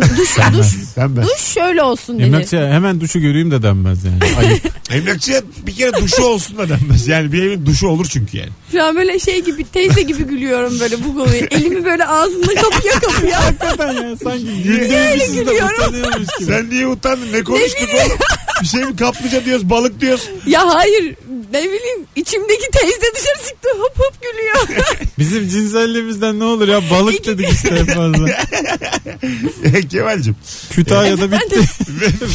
Speaker 3: Duş, duş, [laughs]
Speaker 2: Denmez.
Speaker 3: duş şöyle olsun dedi.
Speaker 4: Emlakçıya hemen duşu göreyim de denmez yani. Ayıp.
Speaker 2: Emlakçıya bir kere duşu olsun da denmez. Yani bir evin duşu olur çünkü yani.
Speaker 3: Şu an böyle şey gibi teyze gibi gülüyorum böyle bu
Speaker 2: [laughs]
Speaker 3: konuya. Elimi böyle ağzımla kapıya kapıya.
Speaker 4: Hakikaten ya sanki
Speaker 3: Öyle
Speaker 4: güldüğümüz de
Speaker 3: gülüyorum.
Speaker 4: utanıyormuş gibi.
Speaker 2: Sen niye utandın? Ne konuştuk oğlum? Bir şey mi kaplıca diyoruz, balık diyoruz. [laughs]
Speaker 3: ya hayır ne bileyim içimdeki teyze dışarı çıktı hop
Speaker 2: [laughs]
Speaker 3: hop gülüyor.
Speaker 4: Bizim cinselliğimizden ne olur ya balık dedik işte en fazla.
Speaker 2: E, Kemal'cim.
Speaker 4: Kütahya'da bitti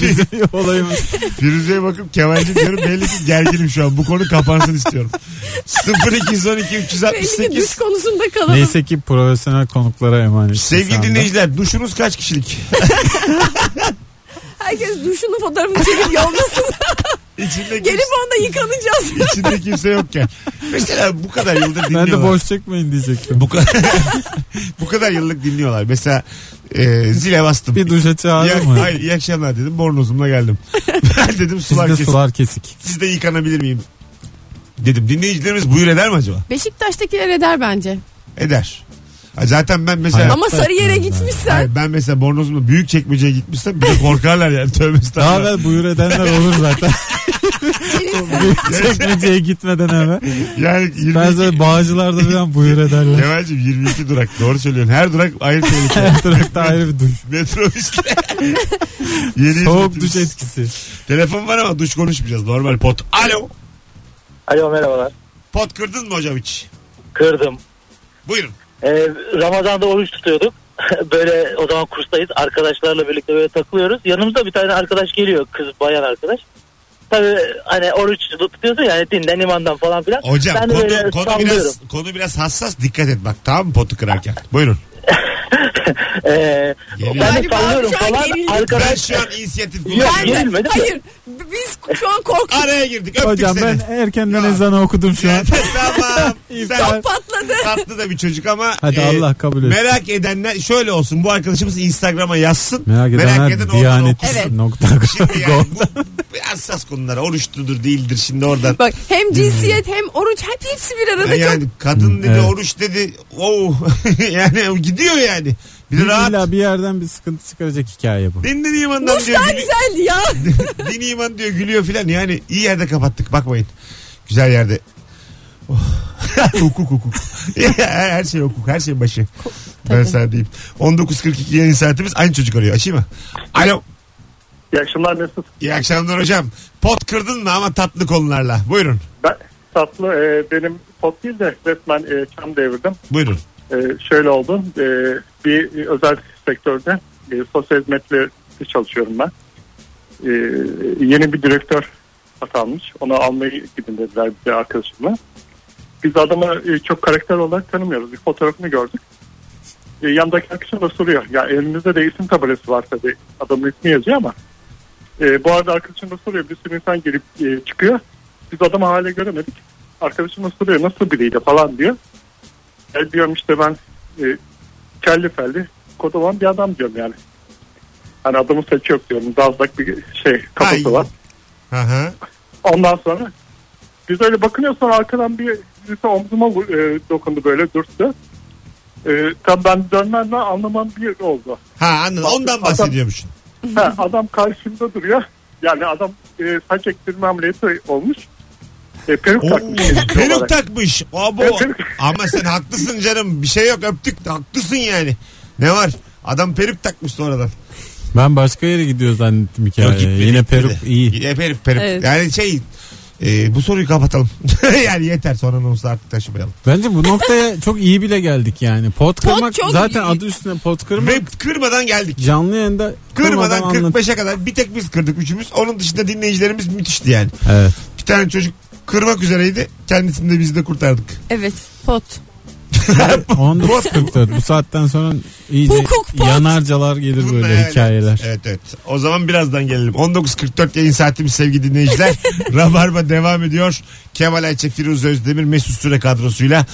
Speaker 4: bizim [laughs] olayımız.
Speaker 2: Firuze'ye bakıp Kemal'cim diyorum belli ki gerginim şu an. Bu konu kapansın istiyorum. 0212
Speaker 3: Belli ki duş
Speaker 2: 368
Speaker 3: konusunda kalalım.
Speaker 4: Neyse ki profesyonel konuklara emanet.
Speaker 2: Sevgili dinleyiciler duşunuz kaç kişilik?
Speaker 3: Herkes duşunun fotoğrafını
Speaker 2: [laughs]
Speaker 3: çekip yollasın.
Speaker 2: İçinde, kim,
Speaker 3: Gelip onda yıkanacağız.
Speaker 2: içinde kimse yokken. Mesela bu kadar yıldır
Speaker 4: Ben
Speaker 2: dinliyorlar.
Speaker 4: de boş çekmeyin diyecektim.
Speaker 2: Bu kadar, [laughs] bu kadar yıllık dinliyorlar. Mesela e, zile bastım.
Speaker 4: Bir duşa çağırır
Speaker 2: İyi-
Speaker 4: mı?
Speaker 2: hayır, iyi akşamlar dedim. Bornozumla
Speaker 4: [laughs]
Speaker 2: geldim. ben dedim sular
Speaker 4: Bizde
Speaker 2: kesin.
Speaker 4: sular kesik.
Speaker 2: Siz de yıkanabilir miyim? Dedim. Dinleyicilerimiz buyur eder mi acaba?
Speaker 3: Beşiktaş'takiler eder bence.
Speaker 2: Eder. Ha, Zaten ben mesela...
Speaker 3: Ama sarı yere
Speaker 2: [laughs]
Speaker 3: gitmişsen.
Speaker 2: Hayır, ben mesela bornozumla büyük çekmeceye gitmişsem bir de korkarlar yani [laughs] tövbe
Speaker 4: Daha
Speaker 2: estağfurullah.
Speaker 4: evvel buyur edenler olur
Speaker 2: [laughs]
Speaker 4: zaten. Çekmeceye gitmeden eve.
Speaker 2: Yani 22,
Speaker 4: Ben zaten bağcılarda falan buyur ederler.
Speaker 2: Kemal'cim 22 durak doğru söylüyorsun. Her durak şey.
Speaker 8: [laughs]
Speaker 2: ayrı tehlike.
Speaker 4: Her tarafta ayrı bir duş.
Speaker 2: Metrobüste. Yeni
Speaker 4: Soğuk
Speaker 2: hizmetimiz.
Speaker 4: duş etkisi.
Speaker 2: Telefon var ama duş konuşmayacağız. Normal pot. Alo.
Speaker 8: Alo merhabalar.
Speaker 2: Pot kırdın mı hocam hiç?
Speaker 8: Kırdım.
Speaker 2: Buyurun.
Speaker 8: Ee, Ramazan'da oruç tutuyorduk. [laughs] böyle o zaman kurstayız. Arkadaşlarla birlikte böyle takılıyoruz. Yanımıza bir tane arkadaş geliyor. Kız bayan arkadaş. Tabii hani oruç tutuyorsun yani dinden imandan falan filan.
Speaker 2: Hocam
Speaker 8: ben de
Speaker 2: konu,
Speaker 8: böyle
Speaker 2: konu,
Speaker 8: sallıyorum. [laughs]
Speaker 2: biraz, konu biraz hassas. Dikkat et bak tamam mı potu kırarken? Buyurun.
Speaker 8: Ee,
Speaker 2: Gerilim.
Speaker 8: ben de
Speaker 3: Galiba
Speaker 8: sallıyorum
Speaker 3: şu an
Speaker 8: falan.
Speaker 3: gerildim.
Speaker 2: Ben
Speaker 8: Arkadaş
Speaker 2: şu an
Speaker 8: Yok,
Speaker 2: inisiyatif
Speaker 3: Ben
Speaker 2: kullanıyorum.
Speaker 8: yok.
Speaker 3: de,
Speaker 8: Yenilmedi mi?
Speaker 3: hayır. B- Biz şu an korktuk.
Speaker 2: Araya girdik. Öptük
Speaker 4: Hocam
Speaker 2: seni.
Speaker 4: [laughs] ben erkenden
Speaker 2: Ya.
Speaker 4: ezanı okudum şu an.
Speaker 2: Yani tamam. Sen
Speaker 4: İftar.
Speaker 3: Patladı.
Speaker 2: tatlı da bir çocuk ama e,
Speaker 4: Hadi Allah kabul etsin.
Speaker 2: Merak edenler şöyle olsun. Bu arkadaşımız Instagram'a yazsın.
Speaker 4: Merak edenler
Speaker 2: eden oradan
Speaker 4: Diyanet [laughs]
Speaker 2: okusun.
Speaker 3: Evet.
Speaker 4: nokta.
Speaker 2: Şimdi yani bu, bu hassas konulara oruçludur değildir şimdi oradan.
Speaker 3: Bak hem cinsiyet hem oruç hep hepsi bir arada
Speaker 2: yani
Speaker 3: çok.
Speaker 2: kadın dedi
Speaker 4: evet.
Speaker 2: oruç dedi. Oo. [laughs] yani o gidiyor yani. Bir de rahat.
Speaker 4: İlla bir yerden bir sıkıntı çıkaracak hikaye bu.
Speaker 2: Dinden imandan
Speaker 3: Duş
Speaker 2: diyor.
Speaker 3: daha
Speaker 2: gülü-
Speaker 3: güzeldi ya. [laughs]
Speaker 2: Din iman diyor gülüyor filan. Yani iyi yerde kapattık bakmayın. Güzel yerde. Oh. [laughs] hukuk hukuk. [laughs] her şey hukuk. Her şey başı. Ben sana diyeyim. 19.42 yayın saatimiz. Aynı çocuk arıyor. Açayım mı? Alo.
Speaker 6: İyi akşamlar nasılsın?
Speaker 2: İyi akşamlar hocam. Pot kırdın mı ama tatlı konularla. Buyurun.
Speaker 5: Ben, tatlı e, benim pot değil de resmen e, çam devirdim.
Speaker 2: Buyurun.
Speaker 5: E, şöyle oldu. E, bir özel sektörde e, sosyal hizmetlerde çalışıyorum ben. E, yeni bir direktör atanmış. Onu almayı gidin dediler bir arkadaşımla. Biz adamı e, çok karakter olarak tanımıyoruz. Bir fotoğrafını gördük. E, yandaki arkadaşım da soruyor. Ya elimizde de isim tabelası var tabii. Adamın ismi yazıyor ama. E, bu arada arkadaşım da soruyor. Bir sürü insan girip e, çıkıyor. Biz adamı hale göremedik. Arkadaşım da soruyor nasıl biriydi falan diyor. E, diyorum işte ben e, kelli felli kocaman bir adam diyorum yani. Hani adamı saçı yok diyorum. Dazlak bir şey kafası
Speaker 2: Ay.
Speaker 5: var.
Speaker 2: Hı hı.
Speaker 5: Ondan sonra biz öyle bakınıyoruz sonra arkadan bir birisi omzuma vu- e, dokundu böyle dürttü. E, tam ben dönmemle anlamam bir oldu.
Speaker 2: Ha anladım. Ondan bahsediyormuşsun.
Speaker 5: Ha, adam karşımda duruyor. Yani adam e, saç ektirme ameliyatı olmuş. E, peruk
Speaker 2: Oo,
Speaker 5: takmış. elbise
Speaker 2: peruk
Speaker 5: olarak.
Speaker 2: takmış. Abo.
Speaker 5: Evet, peruk.
Speaker 2: Ama sen haklısın canım. Bir şey yok öptük. de Haklısın yani. Ne var? Adam peruk takmış sonradan.
Speaker 4: Ben başka yere gidiyor zannettim hikaye.
Speaker 2: Yok, gitmedi,
Speaker 4: Yine
Speaker 2: gitmedi.
Speaker 4: peruk iyi.
Speaker 2: Yine peruk peruk.
Speaker 3: Evet.
Speaker 2: Yani şey e, bu soruyu kapatalım. [laughs] yani yeter sonra namusu artık taşımayalım.
Speaker 4: Bence bu noktaya [laughs] çok iyi bile geldik yani. Pot kırmak
Speaker 3: çok
Speaker 4: zaten
Speaker 3: iyi.
Speaker 4: adı üstüne pot kırmak.
Speaker 2: Ve kırmadan geldik.
Speaker 4: Canlı yayında
Speaker 2: Kırmadan
Speaker 4: kırmadan anlat.
Speaker 2: 45'e kadar bir tek biz kırdık üçümüz. Onun dışında dinleyicilerimiz müthişti yani.
Speaker 4: Evet.
Speaker 2: Bir tane çocuk kırmak üzereydi. Kendisini de biz de kurtardık.
Speaker 3: Evet pot.
Speaker 4: 19.44 bu saatten sonra iyice
Speaker 3: Hukuk pot.
Speaker 4: yanarcalar gelir
Speaker 2: Bununla
Speaker 4: böyle
Speaker 2: yani.
Speaker 4: hikayeler.
Speaker 2: Evet evet. O zaman birazdan gelelim. 19.44 yayın saatimiz sevgili
Speaker 4: [laughs]
Speaker 2: dinleyiciler. Rabarba devam ediyor. Kemal Ayça, Firuze Özdemir, Mesut Süre kadrosuyla.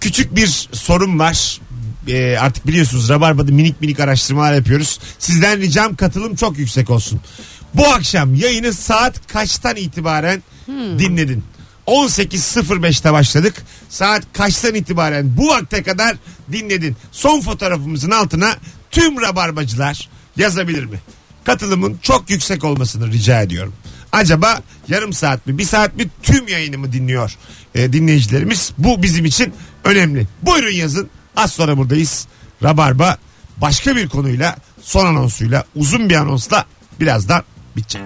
Speaker 2: Küçük bir sorun var. Ee, artık biliyorsunuz Rabarba'da minik minik araştırmalar yapıyoruz. Sizden ricam katılım çok yüksek olsun. Bu akşam yayını saat kaçtan itibaren
Speaker 4: Hmm.
Speaker 2: dinledin? 18.05'te başladık. Saat kaçtan itibaren bu vakte kadar dinledin? Son fotoğrafımızın altına tüm rabarbacılar yazabilir mi? Katılımın çok yüksek olmasını rica ediyorum. Acaba yarım saat mi bir saat mi tüm yayınımı dinliyor e, dinleyicilerimiz? Bu bizim için önemli. Buyurun yazın. Az sonra buradayız. Rabarba başka bir konuyla son anonsuyla uzun bir anonsla birazdan bitecek.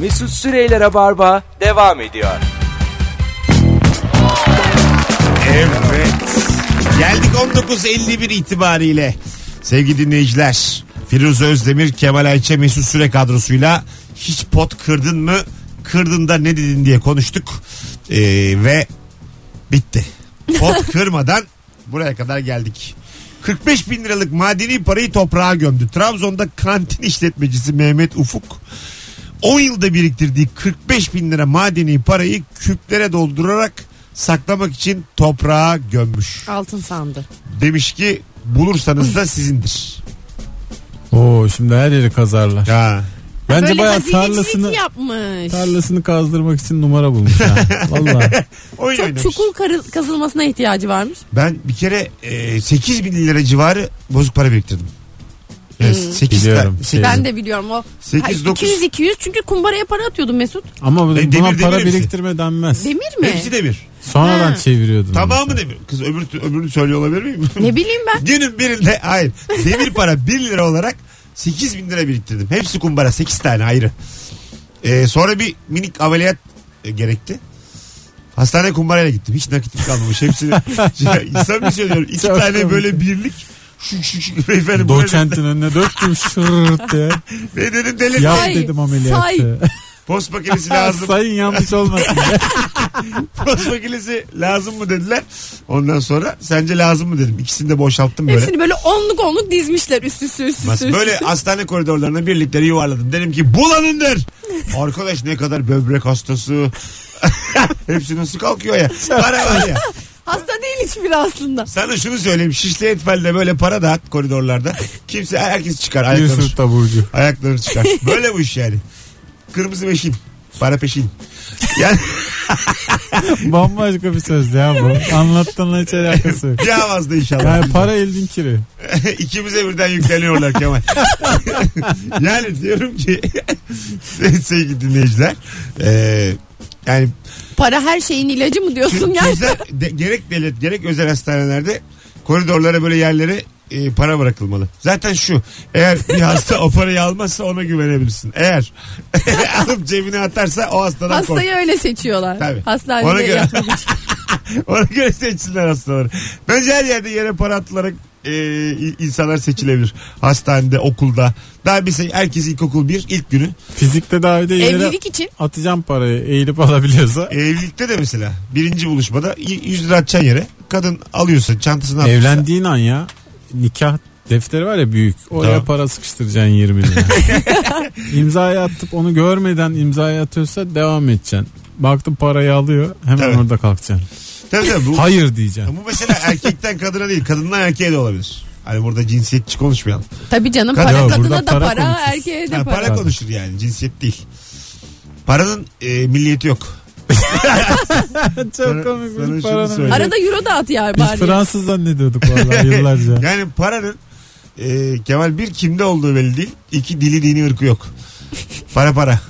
Speaker 1: Mesut Süreyler'e barba devam ediyor.
Speaker 2: Evet. Geldik 19.51 itibariyle. Sevgili dinleyiciler. Firuze Özdemir, Kemal Ayça, Mesut Süre kadrosuyla hiç pot kırdın mı? Kırdın da ne dedin diye konuştuk. Ee, ve bitti. Pot kırmadan buraya kadar geldik. 45 bin liralık madeni parayı toprağa gömdü. Trabzon'da kantin işletmecisi Mehmet Ufuk 10 yılda biriktirdiği 45 bin lira madeni parayı küplere doldurarak saklamak için toprağa gömmüş.
Speaker 3: Altın sandı.
Speaker 2: Demiş ki bulursanız da sizindir.
Speaker 4: Oo şimdi her yeri kazarlar.
Speaker 2: Ha.
Speaker 4: Bence
Speaker 3: Böyle
Speaker 4: bayağı
Speaker 3: hazinecilik
Speaker 4: tarlasını
Speaker 3: yapmış.
Speaker 4: tarlasını kazdırmak için numara bulmuş ha. Vallahi.
Speaker 2: Oyun
Speaker 3: Çok
Speaker 2: oynamış.
Speaker 3: çukur karı- kazılmasına ihtiyacı varmış.
Speaker 2: Ben bir kere e, 8 bin lira civarı bozuk para biriktirdim. Yani 8
Speaker 4: Biliyorum.
Speaker 3: Hmm. Ben de biliyorum o.
Speaker 2: Sekiz, dokuz.
Speaker 3: 200 200 çünkü kumbaraya para atıyordu Mesut.
Speaker 4: Ama
Speaker 2: E, demir,
Speaker 4: buna
Speaker 2: demir
Speaker 4: para
Speaker 2: hepsi.
Speaker 4: biriktirme denmez.
Speaker 3: Demir mi?
Speaker 2: Hepsi demir.
Speaker 4: Sonradan
Speaker 3: Ha.
Speaker 4: çeviriyordun.
Speaker 2: Tamamı demir. Kız öbür, öbürünü söylüyor olabilir
Speaker 3: [laughs]
Speaker 2: miyim?
Speaker 3: Ne bileyim ben.
Speaker 2: Günün birinde hayır. Demir para 1 lira olarak 8 bin lira biriktirdim. Hepsi kumbara 8 tane ayrı. Ee, sonra bir minik ameliyat e, gerekti. Hastaneye kumbarayla gittim. Hiç nakitim kalmamış.
Speaker 4: [laughs]
Speaker 2: Hepsini insan bir söylüyorum. İki
Speaker 4: Çok
Speaker 2: tane
Speaker 4: komik.
Speaker 2: böyle birlik. Şu şu şu beyefendi. bu ne
Speaker 4: Doçentin önüne döktüm
Speaker 3: [laughs]
Speaker 4: şırt diye.
Speaker 2: dedi? Ne dedim deli.
Speaker 4: Yap
Speaker 3: Say,
Speaker 4: dedim [laughs] ameliyatı.
Speaker 2: Post makinesi
Speaker 4: Ha, [laughs]
Speaker 2: lazım.
Speaker 4: Sayın
Speaker 2: [laughs]
Speaker 4: yanlış olmasın.
Speaker 2: Post makinesi lazım mı dediler. Ondan sonra sence lazım mı dedim. İkisini de boşalttım böyle.
Speaker 3: Hepsini böyle onluk onluk dizmişler üst üste üst üste.
Speaker 2: Mas-
Speaker 3: üst
Speaker 2: Böyle
Speaker 3: üste.
Speaker 2: hastane koridorlarına birlikleri yuvarladım. Dedim ki bulanındır. Arkadaş ne kadar böbrek hastası. [laughs] Hepsi nasıl kalkıyor ya. Para var ya.
Speaker 3: Hasta değil hiçbiri aslında.
Speaker 2: Sana şunu söyleyeyim. Şişli etfelde böyle para dağıt koridorlarda. Kimse herkes çıkar. Ayaklarını,
Speaker 4: Yusuf taburcu.
Speaker 2: ayaklarını çıkar. Böyle bu iş yani. Kırmızı beşin. Para peşin. Yani
Speaker 4: Bambaşka bir söz ya bu. Anlattığınla hiç alakası yok.
Speaker 2: bir havazda inşallah.
Speaker 4: Yani para eldin kiri.
Speaker 2: [laughs] İkimize birden yükleniyorlar Kemal. [laughs] yani diyorum ki [laughs] sevgili dinleyiciler. eee, yani
Speaker 3: Para her şeyin ilacı mı diyorsun
Speaker 2: Çünkü
Speaker 3: ya?
Speaker 2: Güzel, de- gerek devlet gerek özel hastanelerde koridorlara böyle yerlere e, para bırakılmalı. Zaten şu eğer bir hasta o parayı almazsa ona güvenebilirsin. Eğer [laughs] alıp cebine atarsa o hastadan kork.
Speaker 3: Hastayı öyle seçiyorlar.
Speaker 2: Tabii. Ona
Speaker 3: Hastanede
Speaker 2: göre-
Speaker 3: yatmak için.
Speaker 2: [laughs] Ona göre seçsinler hastaları. Bence her yerde yere para atılarak e, i- insanlar seçilebilir. Hastanede, okulda. Daha bir şey herkes ilkokul bir ilk günü.
Speaker 4: Fizikte daha bir de yere
Speaker 3: Evlilik için.
Speaker 4: atacağım parayı eğilip alabiliyorsa.
Speaker 2: Evlilikte de mesela birinci buluşmada y- 100 lira atacaksın yere. Kadın alıyorsun çantasına atmışsa-
Speaker 4: Evlendiğin an ya nikah defteri var ya büyük. Oraya
Speaker 2: Tamam.
Speaker 4: para sıkıştıracaksın
Speaker 3: [laughs]
Speaker 4: 20 lira. imzayı atıp onu görmeden imzayı atıyorsa devam edeceksin. Baktın parayı alıyor hemen
Speaker 2: Tabii.
Speaker 4: orada kalkacaksın.
Speaker 2: Tabii tabii, bu-
Speaker 4: Hayır diyeceksin.
Speaker 2: Ama bu mesela erkekten kadına değil, kadından erkeğe de olabilir. Hani burada cinsiyetçi konuşmayalım.
Speaker 3: Tabii canım
Speaker 2: Kadın-
Speaker 3: para
Speaker 4: Ya,
Speaker 3: kadına
Speaker 4: burada
Speaker 3: da
Speaker 4: para
Speaker 3: para,
Speaker 4: konuşuyoruz.
Speaker 3: erkeğe de
Speaker 2: Ha, para
Speaker 3: para.
Speaker 2: konuşur yani, cinsiyet değil. Paranın e, milliyeti yok.
Speaker 4: Çok komik
Speaker 2: sana şunu
Speaker 4: bir paranın.
Speaker 2: söyleyeyim.
Speaker 3: Arada euro da at ya
Speaker 4: Biz
Speaker 3: bari.
Speaker 4: Fransız zannediyorduk vallahi yıllarca.
Speaker 2: [laughs] Yani paranın e, Kemal bir kimde olduğu belli değil. iki dili dini ırkı yok. Para para.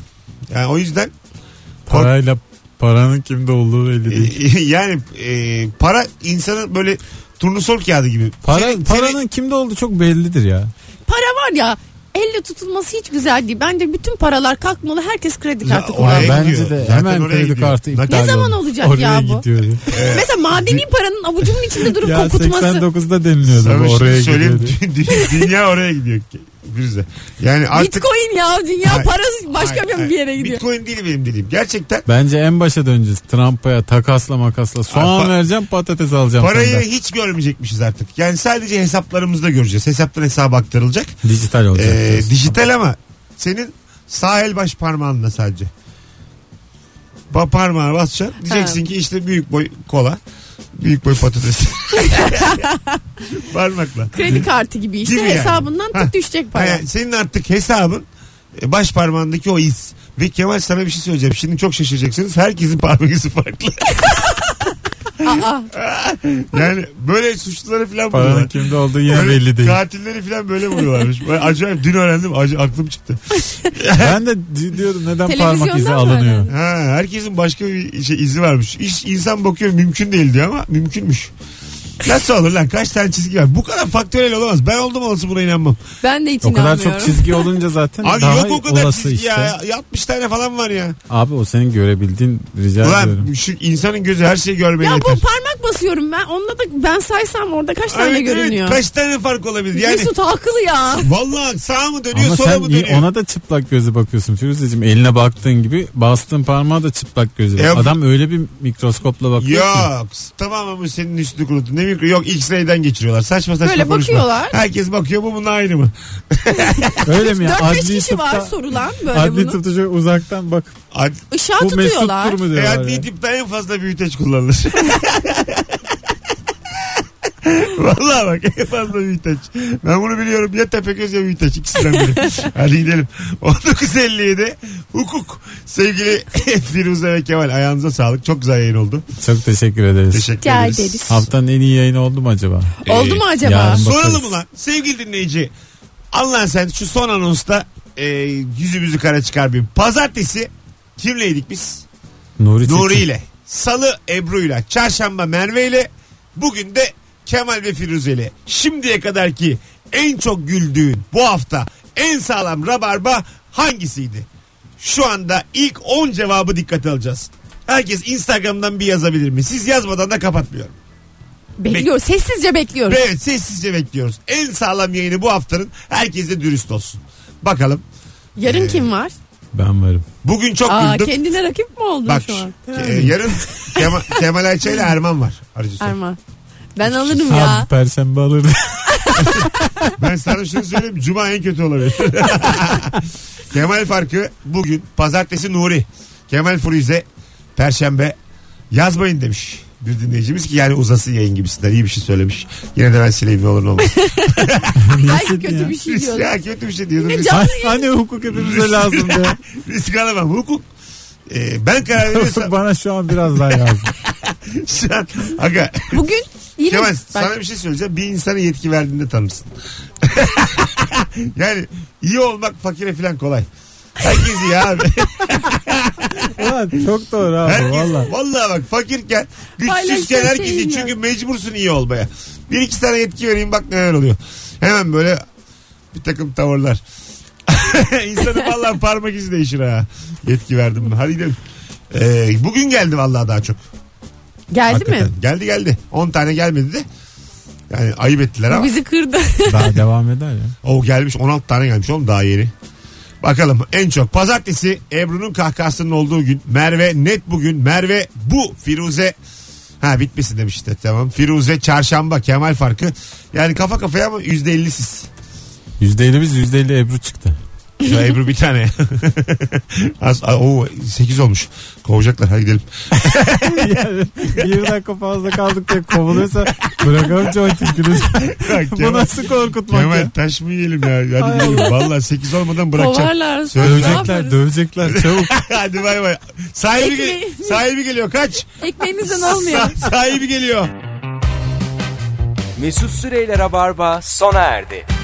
Speaker 2: Yani o yüzden [laughs]
Speaker 4: Parayla paranın kimde olduğu belli
Speaker 2: e,
Speaker 4: değil.
Speaker 2: yani e, para insanın böyle turnusol kağıdı gibi.
Speaker 4: Para,
Speaker 2: Senin-
Speaker 4: paranın
Speaker 2: senin-
Speaker 4: kimde olduğu çok bellidir ya.
Speaker 3: Para var ya elle tutulması hiç güzel değil. Bence bütün paralar kalkmalı. Herkes kredi kartı
Speaker 2: Ya,
Speaker 3: kullanmalı.
Speaker 2: oraya
Speaker 4: bence
Speaker 2: gidiyor.
Speaker 4: de
Speaker 2: Zaten
Speaker 4: hemen
Speaker 2: oraya
Speaker 4: kredi
Speaker 2: gidiyor.
Speaker 4: kartı
Speaker 2: Ne
Speaker 4: iptal
Speaker 3: zaman
Speaker 4: oldu.
Speaker 3: olacak
Speaker 4: Oraya
Speaker 3: ya bu?
Speaker 4: gidiyor diyor.
Speaker 3: Mesela madeni paranın avucumun
Speaker 2: [laughs]
Speaker 3: içinde durup
Speaker 4: Ya
Speaker 3: kokutması.
Speaker 4: 89'da deniliyordu
Speaker 2: Sana
Speaker 4: bu
Speaker 2: şunu
Speaker 4: oraya gidiyor
Speaker 2: söyleyeyim.
Speaker 4: diye.
Speaker 2: dü- [laughs] Dünya oraya gidiyor. Firuze. Yani artık
Speaker 3: Bitcoin ya dünya
Speaker 2: Hayır,
Speaker 3: parası başka
Speaker 2: Hayır,
Speaker 3: bir
Speaker 2: hayır.
Speaker 3: yere gidiyor.
Speaker 2: Bitcoin değil benim dediğim. Gerçekten
Speaker 4: Bence en başa döneceğiz. Trump'a takasla makasla. Soğan
Speaker 2: Abi, pa-
Speaker 4: vereceğim patates alacağım
Speaker 2: parayı
Speaker 4: senden.
Speaker 2: hiç görmeyecekmişiz artık. Yani sadece hesaplarımızda göreceğiz. Hesaptan hesaba aktarılacak.
Speaker 4: Dijital olacak.
Speaker 2: Ee,
Speaker 4: diyorsun.
Speaker 2: dijital ama senin sağ el baş parmağınla sadece. Ba parmağı basacaksın. Diyeceksin ki işte büyük boy kola. Büyük boy
Speaker 3: [laughs]
Speaker 2: patates. Parmakla.
Speaker 3: Kredi kartı gibi işte
Speaker 2: Gibi yani.
Speaker 3: hesabından
Speaker 2: Ha.
Speaker 3: tık düşecek para.
Speaker 2: Yani senin artık hesabın e, baş parmağındaki o iz. Ve Kemal sana bir şey söyleyeceğim. Şimdi çok şaşıracaksınız. Herkesin parmak izi farklı.
Speaker 3: Aa,
Speaker 2: Yani böyle suçluları falan
Speaker 4: Paranın
Speaker 2: buluyorlar.
Speaker 4: kimde olduğu yine
Speaker 2: Böyle
Speaker 4: belli değil.
Speaker 2: Katilleri falan böyle vuruyorlarmış. Ben acayip dün öğrendim acı, aklım çıktı.
Speaker 4: ben de di- diyordum neden parmak izi
Speaker 3: Televizyondan mı
Speaker 4: alınıyor.
Speaker 3: öğrendin?
Speaker 2: Ha, herkesin başka bir şey izi varmış. İş, insan bakıyor mümkün değil diyor ama mümkünmüş. Nasıl olur lan kaç tane çizgi var. Bu kadar faktörel olamaz. Ben oldum olası buna inanmam.
Speaker 3: ben de hiç
Speaker 4: O kadar
Speaker 3: inanmıyorum.
Speaker 4: çok çizgi olunca
Speaker 2: [laughs]
Speaker 4: zaten
Speaker 2: Abi
Speaker 4: daha
Speaker 2: yok o kadar
Speaker 4: olası
Speaker 2: çizgi
Speaker 4: işte.
Speaker 2: ya. 60 tane falan var ya.
Speaker 4: Abi o senin görebildiğin rica
Speaker 2: Ulan
Speaker 4: ediyorum.
Speaker 2: şu insanın gözü her şeyi görmeye
Speaker 3: ya bu
Speaker 2: yeter.
Speaker 3: parmak basıyorum ben. Onda da ben saysam orada kaç tane
Speaker 2: Evet, evet.
Speaker 3: görünüyor.
Speaker 2: Kaç tane fark olabilir? Yani
Speaker 3: Mesut haklı ya.
Speaker 2: vallahi sağ mı dönüyor
Speaker 4: Ama
Speaker 2: sola
Speaker 4: sen
Speaker 2: mı
Speaker 4: iyi-
Speaker 2: dönüyor?
Speaker 4: ona da çıplak gözle bakıyorsun Firuzeciğim. Eline baktığın gibi bastığın parmağa da çıplak gözle. bak.
Speaker 2: Ya bu-
Speaker 4: Adam öyle bir mikroskopla bakıyor ki.
Speaker 2: Yok tamamen bu senin üstünü kurutun. Ne mikro yok X-ray'den geçiriyorlar. Saçma saçma
Speaker 3: Böyle
Speaker 2: konuşma.
Speaker 3: bakıyorlar.
Speaker 2: Herkes bakıyor bu bununla aynı mı?
Speaker 3: [laughs]
Speaker 4: Öyle mi ya?
Speaker 3: 4-5
Speaker 4: Adli
Speaker 3: kişi var
Speaker 4: tıpta,
Speaker 3: sorulan böyle
Speaker 4: adli
Speaker 3: bunu.
Speaker 4: tıpta şöyle uzaktan bak.
Speaker 2: Ad,
Speaker 3: Işığa
Speaker 4: Bu
Speaker 3: tutuyorlar.
Speaker 4: mesuttur mu
Speaker 2: e,
Speaker 4: diyorlar.
Speaker 2: adli
Speaker 4: ya.
Speaker 2: tıpta en fazla büyüteç kullanılır. [laughs] Vallahi bak en fazla Büyüteç. Ben bunu biliyorum ya Tepeköz ya Büyüteç ikisinden biri.
Speaker 3: [laughs]
Speaker 2: Hadi gidelim. 1957 hukuk. Sevgili [laughs] Firuze ve Kemal ayağınıza sağlık. Çok güzel yayın oldu.
Speaker 4: Çok teşekkür ederiz.
Speaker 2: Teşekkür
Speaker 3: Rica
Speaker 2: ederiz.
Speaker 3: ederiz.
Speaker 4: Haftanın en iyi yayını oldu mu acaba?
Speaker 3: Oldu mu acaba?
Speaker 4: yarın bak-
Speaker 2: Soralım
Speaker 4: Bakarız.
Speaker 2: ulan sevgili dinleyici. Allah sen şu son anonsta e, yüzümüzü kara çıkar bir. Pazartesi kimleydik biz?
Speaker 4: Nuri, Tekin.
Speaker 2: Nuri ile. Salı Ebru ile. Çarşamba Merve ile. Bugün de Kemal ve Firuze ile. Şimdiye kadarki en çok güldüğün bu hafta en sağlam rabarba hangisiydi? Şu anda ilk 10 cevabı dikkate alacağız. Herkes Instagram'dan bir yazabilir mi? Siz yazmadan da kapatmıyorum.
Speaker 3: Bekliyoruz. Sessizce bekliyoruz.
Speaker 2: Evet sessizce bekliyoruz. En sağlam yayını bu haftanın. Herkes de dürüst olsun. Bakalım.
Speaker 3: Yarın kim var?
Speaker 4: Ben varım.
Speaker 2: Bugün çok
Speaker 3: Aa,
Speaker 2: güldüm.
Speaker 3: kendine rakip mi oldun
Speaker 2: Bak
Speaker 3: şu an?
Speaker 2: e, yarın [laughs] Kemal, Kemal Ayça ile Erman var. Arıcı Soy.
Speaker 3: Erman. Ben alırım
Speaker 4: Abi
Speaker 3: ya. [laughs]
Speaker 4: perşembe alırdı.
Speaker 2: Ben sana şunu söyleyeyim. Cuma en kötü olabilir. [laughs] Kemal farkı bugün. Pazartesi Nuri. Kemal Firuze. Perşembe. Yazmayın demiş bir dinleyicimiz ki yani uzasın yayın gibisinden iyi bir şey söylemiş. Yine de ben sileyim ne olur
Speaker 3: [laughs]
Speaker 2: ne olmaz.
Speaker 3: Ay kötü bir şey diyorsun.
Speaker 2: ya kötü bir şey diyordum.
Speaker 3: Ne
Speaker 2: Risk-
Speaker 3: canlı
Speaker 4: hani hukuk hepimize lazım ya.
Speaker 2: Risk alamam. Hukuk. Ee, ben karar veriyorsam
Speaker 4: [laughs] Bana şu an biraz daha lazım.
Speaker 2: şu an. Aga,
Speaker 3: Bugün yine
Speaker 2: Kemal
Speaker 3: bak,
Speaker 2: sana bir şey söyleyeceğim. Bir insana yetki verdiğinde tanırsın. [laughs] yani iyi olmak fakire falan kolay. Herkes iyi abi. [laughs]
Speaker 4: Ulan çok doğru abi
Speaker 2: Herkes,
Speaker 4: valla.
Speaker 2: vallahi. bak fakirken güçsüzken
Speaker 3: Paylaşacak
Speaker 2: herkes iyi.
Speaker 3: şeyin yok.
Speaker 2: Çünkü mecbursun iyi olmaya. Bir iki tane yetki vereyim bak neler oluyor. Hemen böyle bir takım tavırlar. [laughs] İnsanın
Speaker 3: [laughs]
Speaker 2: vallahi parmak izi değişir ha. Yetki verdim mi? Hadi gidelim. Ee, bugün geldi vallahi daha çok.
Speaker 3: geldi mi?
Speaker 2: Hakikaten. Geldi geldi. 10 tane gelmedi de. Yani ayıp ettiler
Speaker 3: Bu
Speaker 2: ama.
Speaker 3: bizi kırdı.
Speaker 4: Daha devam eder ya.
Speaker 2: O gelmiş 16 tane gelmiş oğlum daha yeni. Bakalım en çok pazartesi Ebru'nun kahkahasının olduğu gün Merve net bugün Merve bu Firuze ha bitmesin demiş işte tamam Firuze çarşamba Kemal farkı yani kafa kafaya ama %50 siz
Speaker 4: %50 biz %50 Ebru çıktı.
Speaker 2: Şu Ebru bir tane [laughs] Az, a, o 8 olmuş kovacaklar hadi
Speaker 4: [laughs]
Speaker 2: gidelim
Speaker 4: yani bir dakika fazla kaldık diye kovuluyorsa bırakalım Joy Türk'ünü.
Speaker 2: Bak,
Speaker 4: Bu
Speaker 2: Kemal,
Speaker 4: nasıl korkutmak
Speaker 2: Kemal
Speaker 4: ya?
Speaker 2: taş mı yiyelim ya hadi
Speaker 4: Ay
Speaker 2: gidelim valla 8 olmadan bırakacağım
Speaker 3: Kovarlar. Ne
Speaker 4: Dövecekler
Speaker 3: yaparız?
Speaker 4: dövecekler çabuk.
Speaker 2: [laughs] hadi bay bay sahibi, gel-
Speaker 3: Ekmeği-
Speaker 2: sahibi geliyor
Speaker 4: [laughs]
Speaker 2: kaç
Speaker 3: Ekmeğimizden almıyor.
Speaker 2: Sa- sahibi geliyor
Speaker 1: Mesut Süreyler'e barba sona erdi.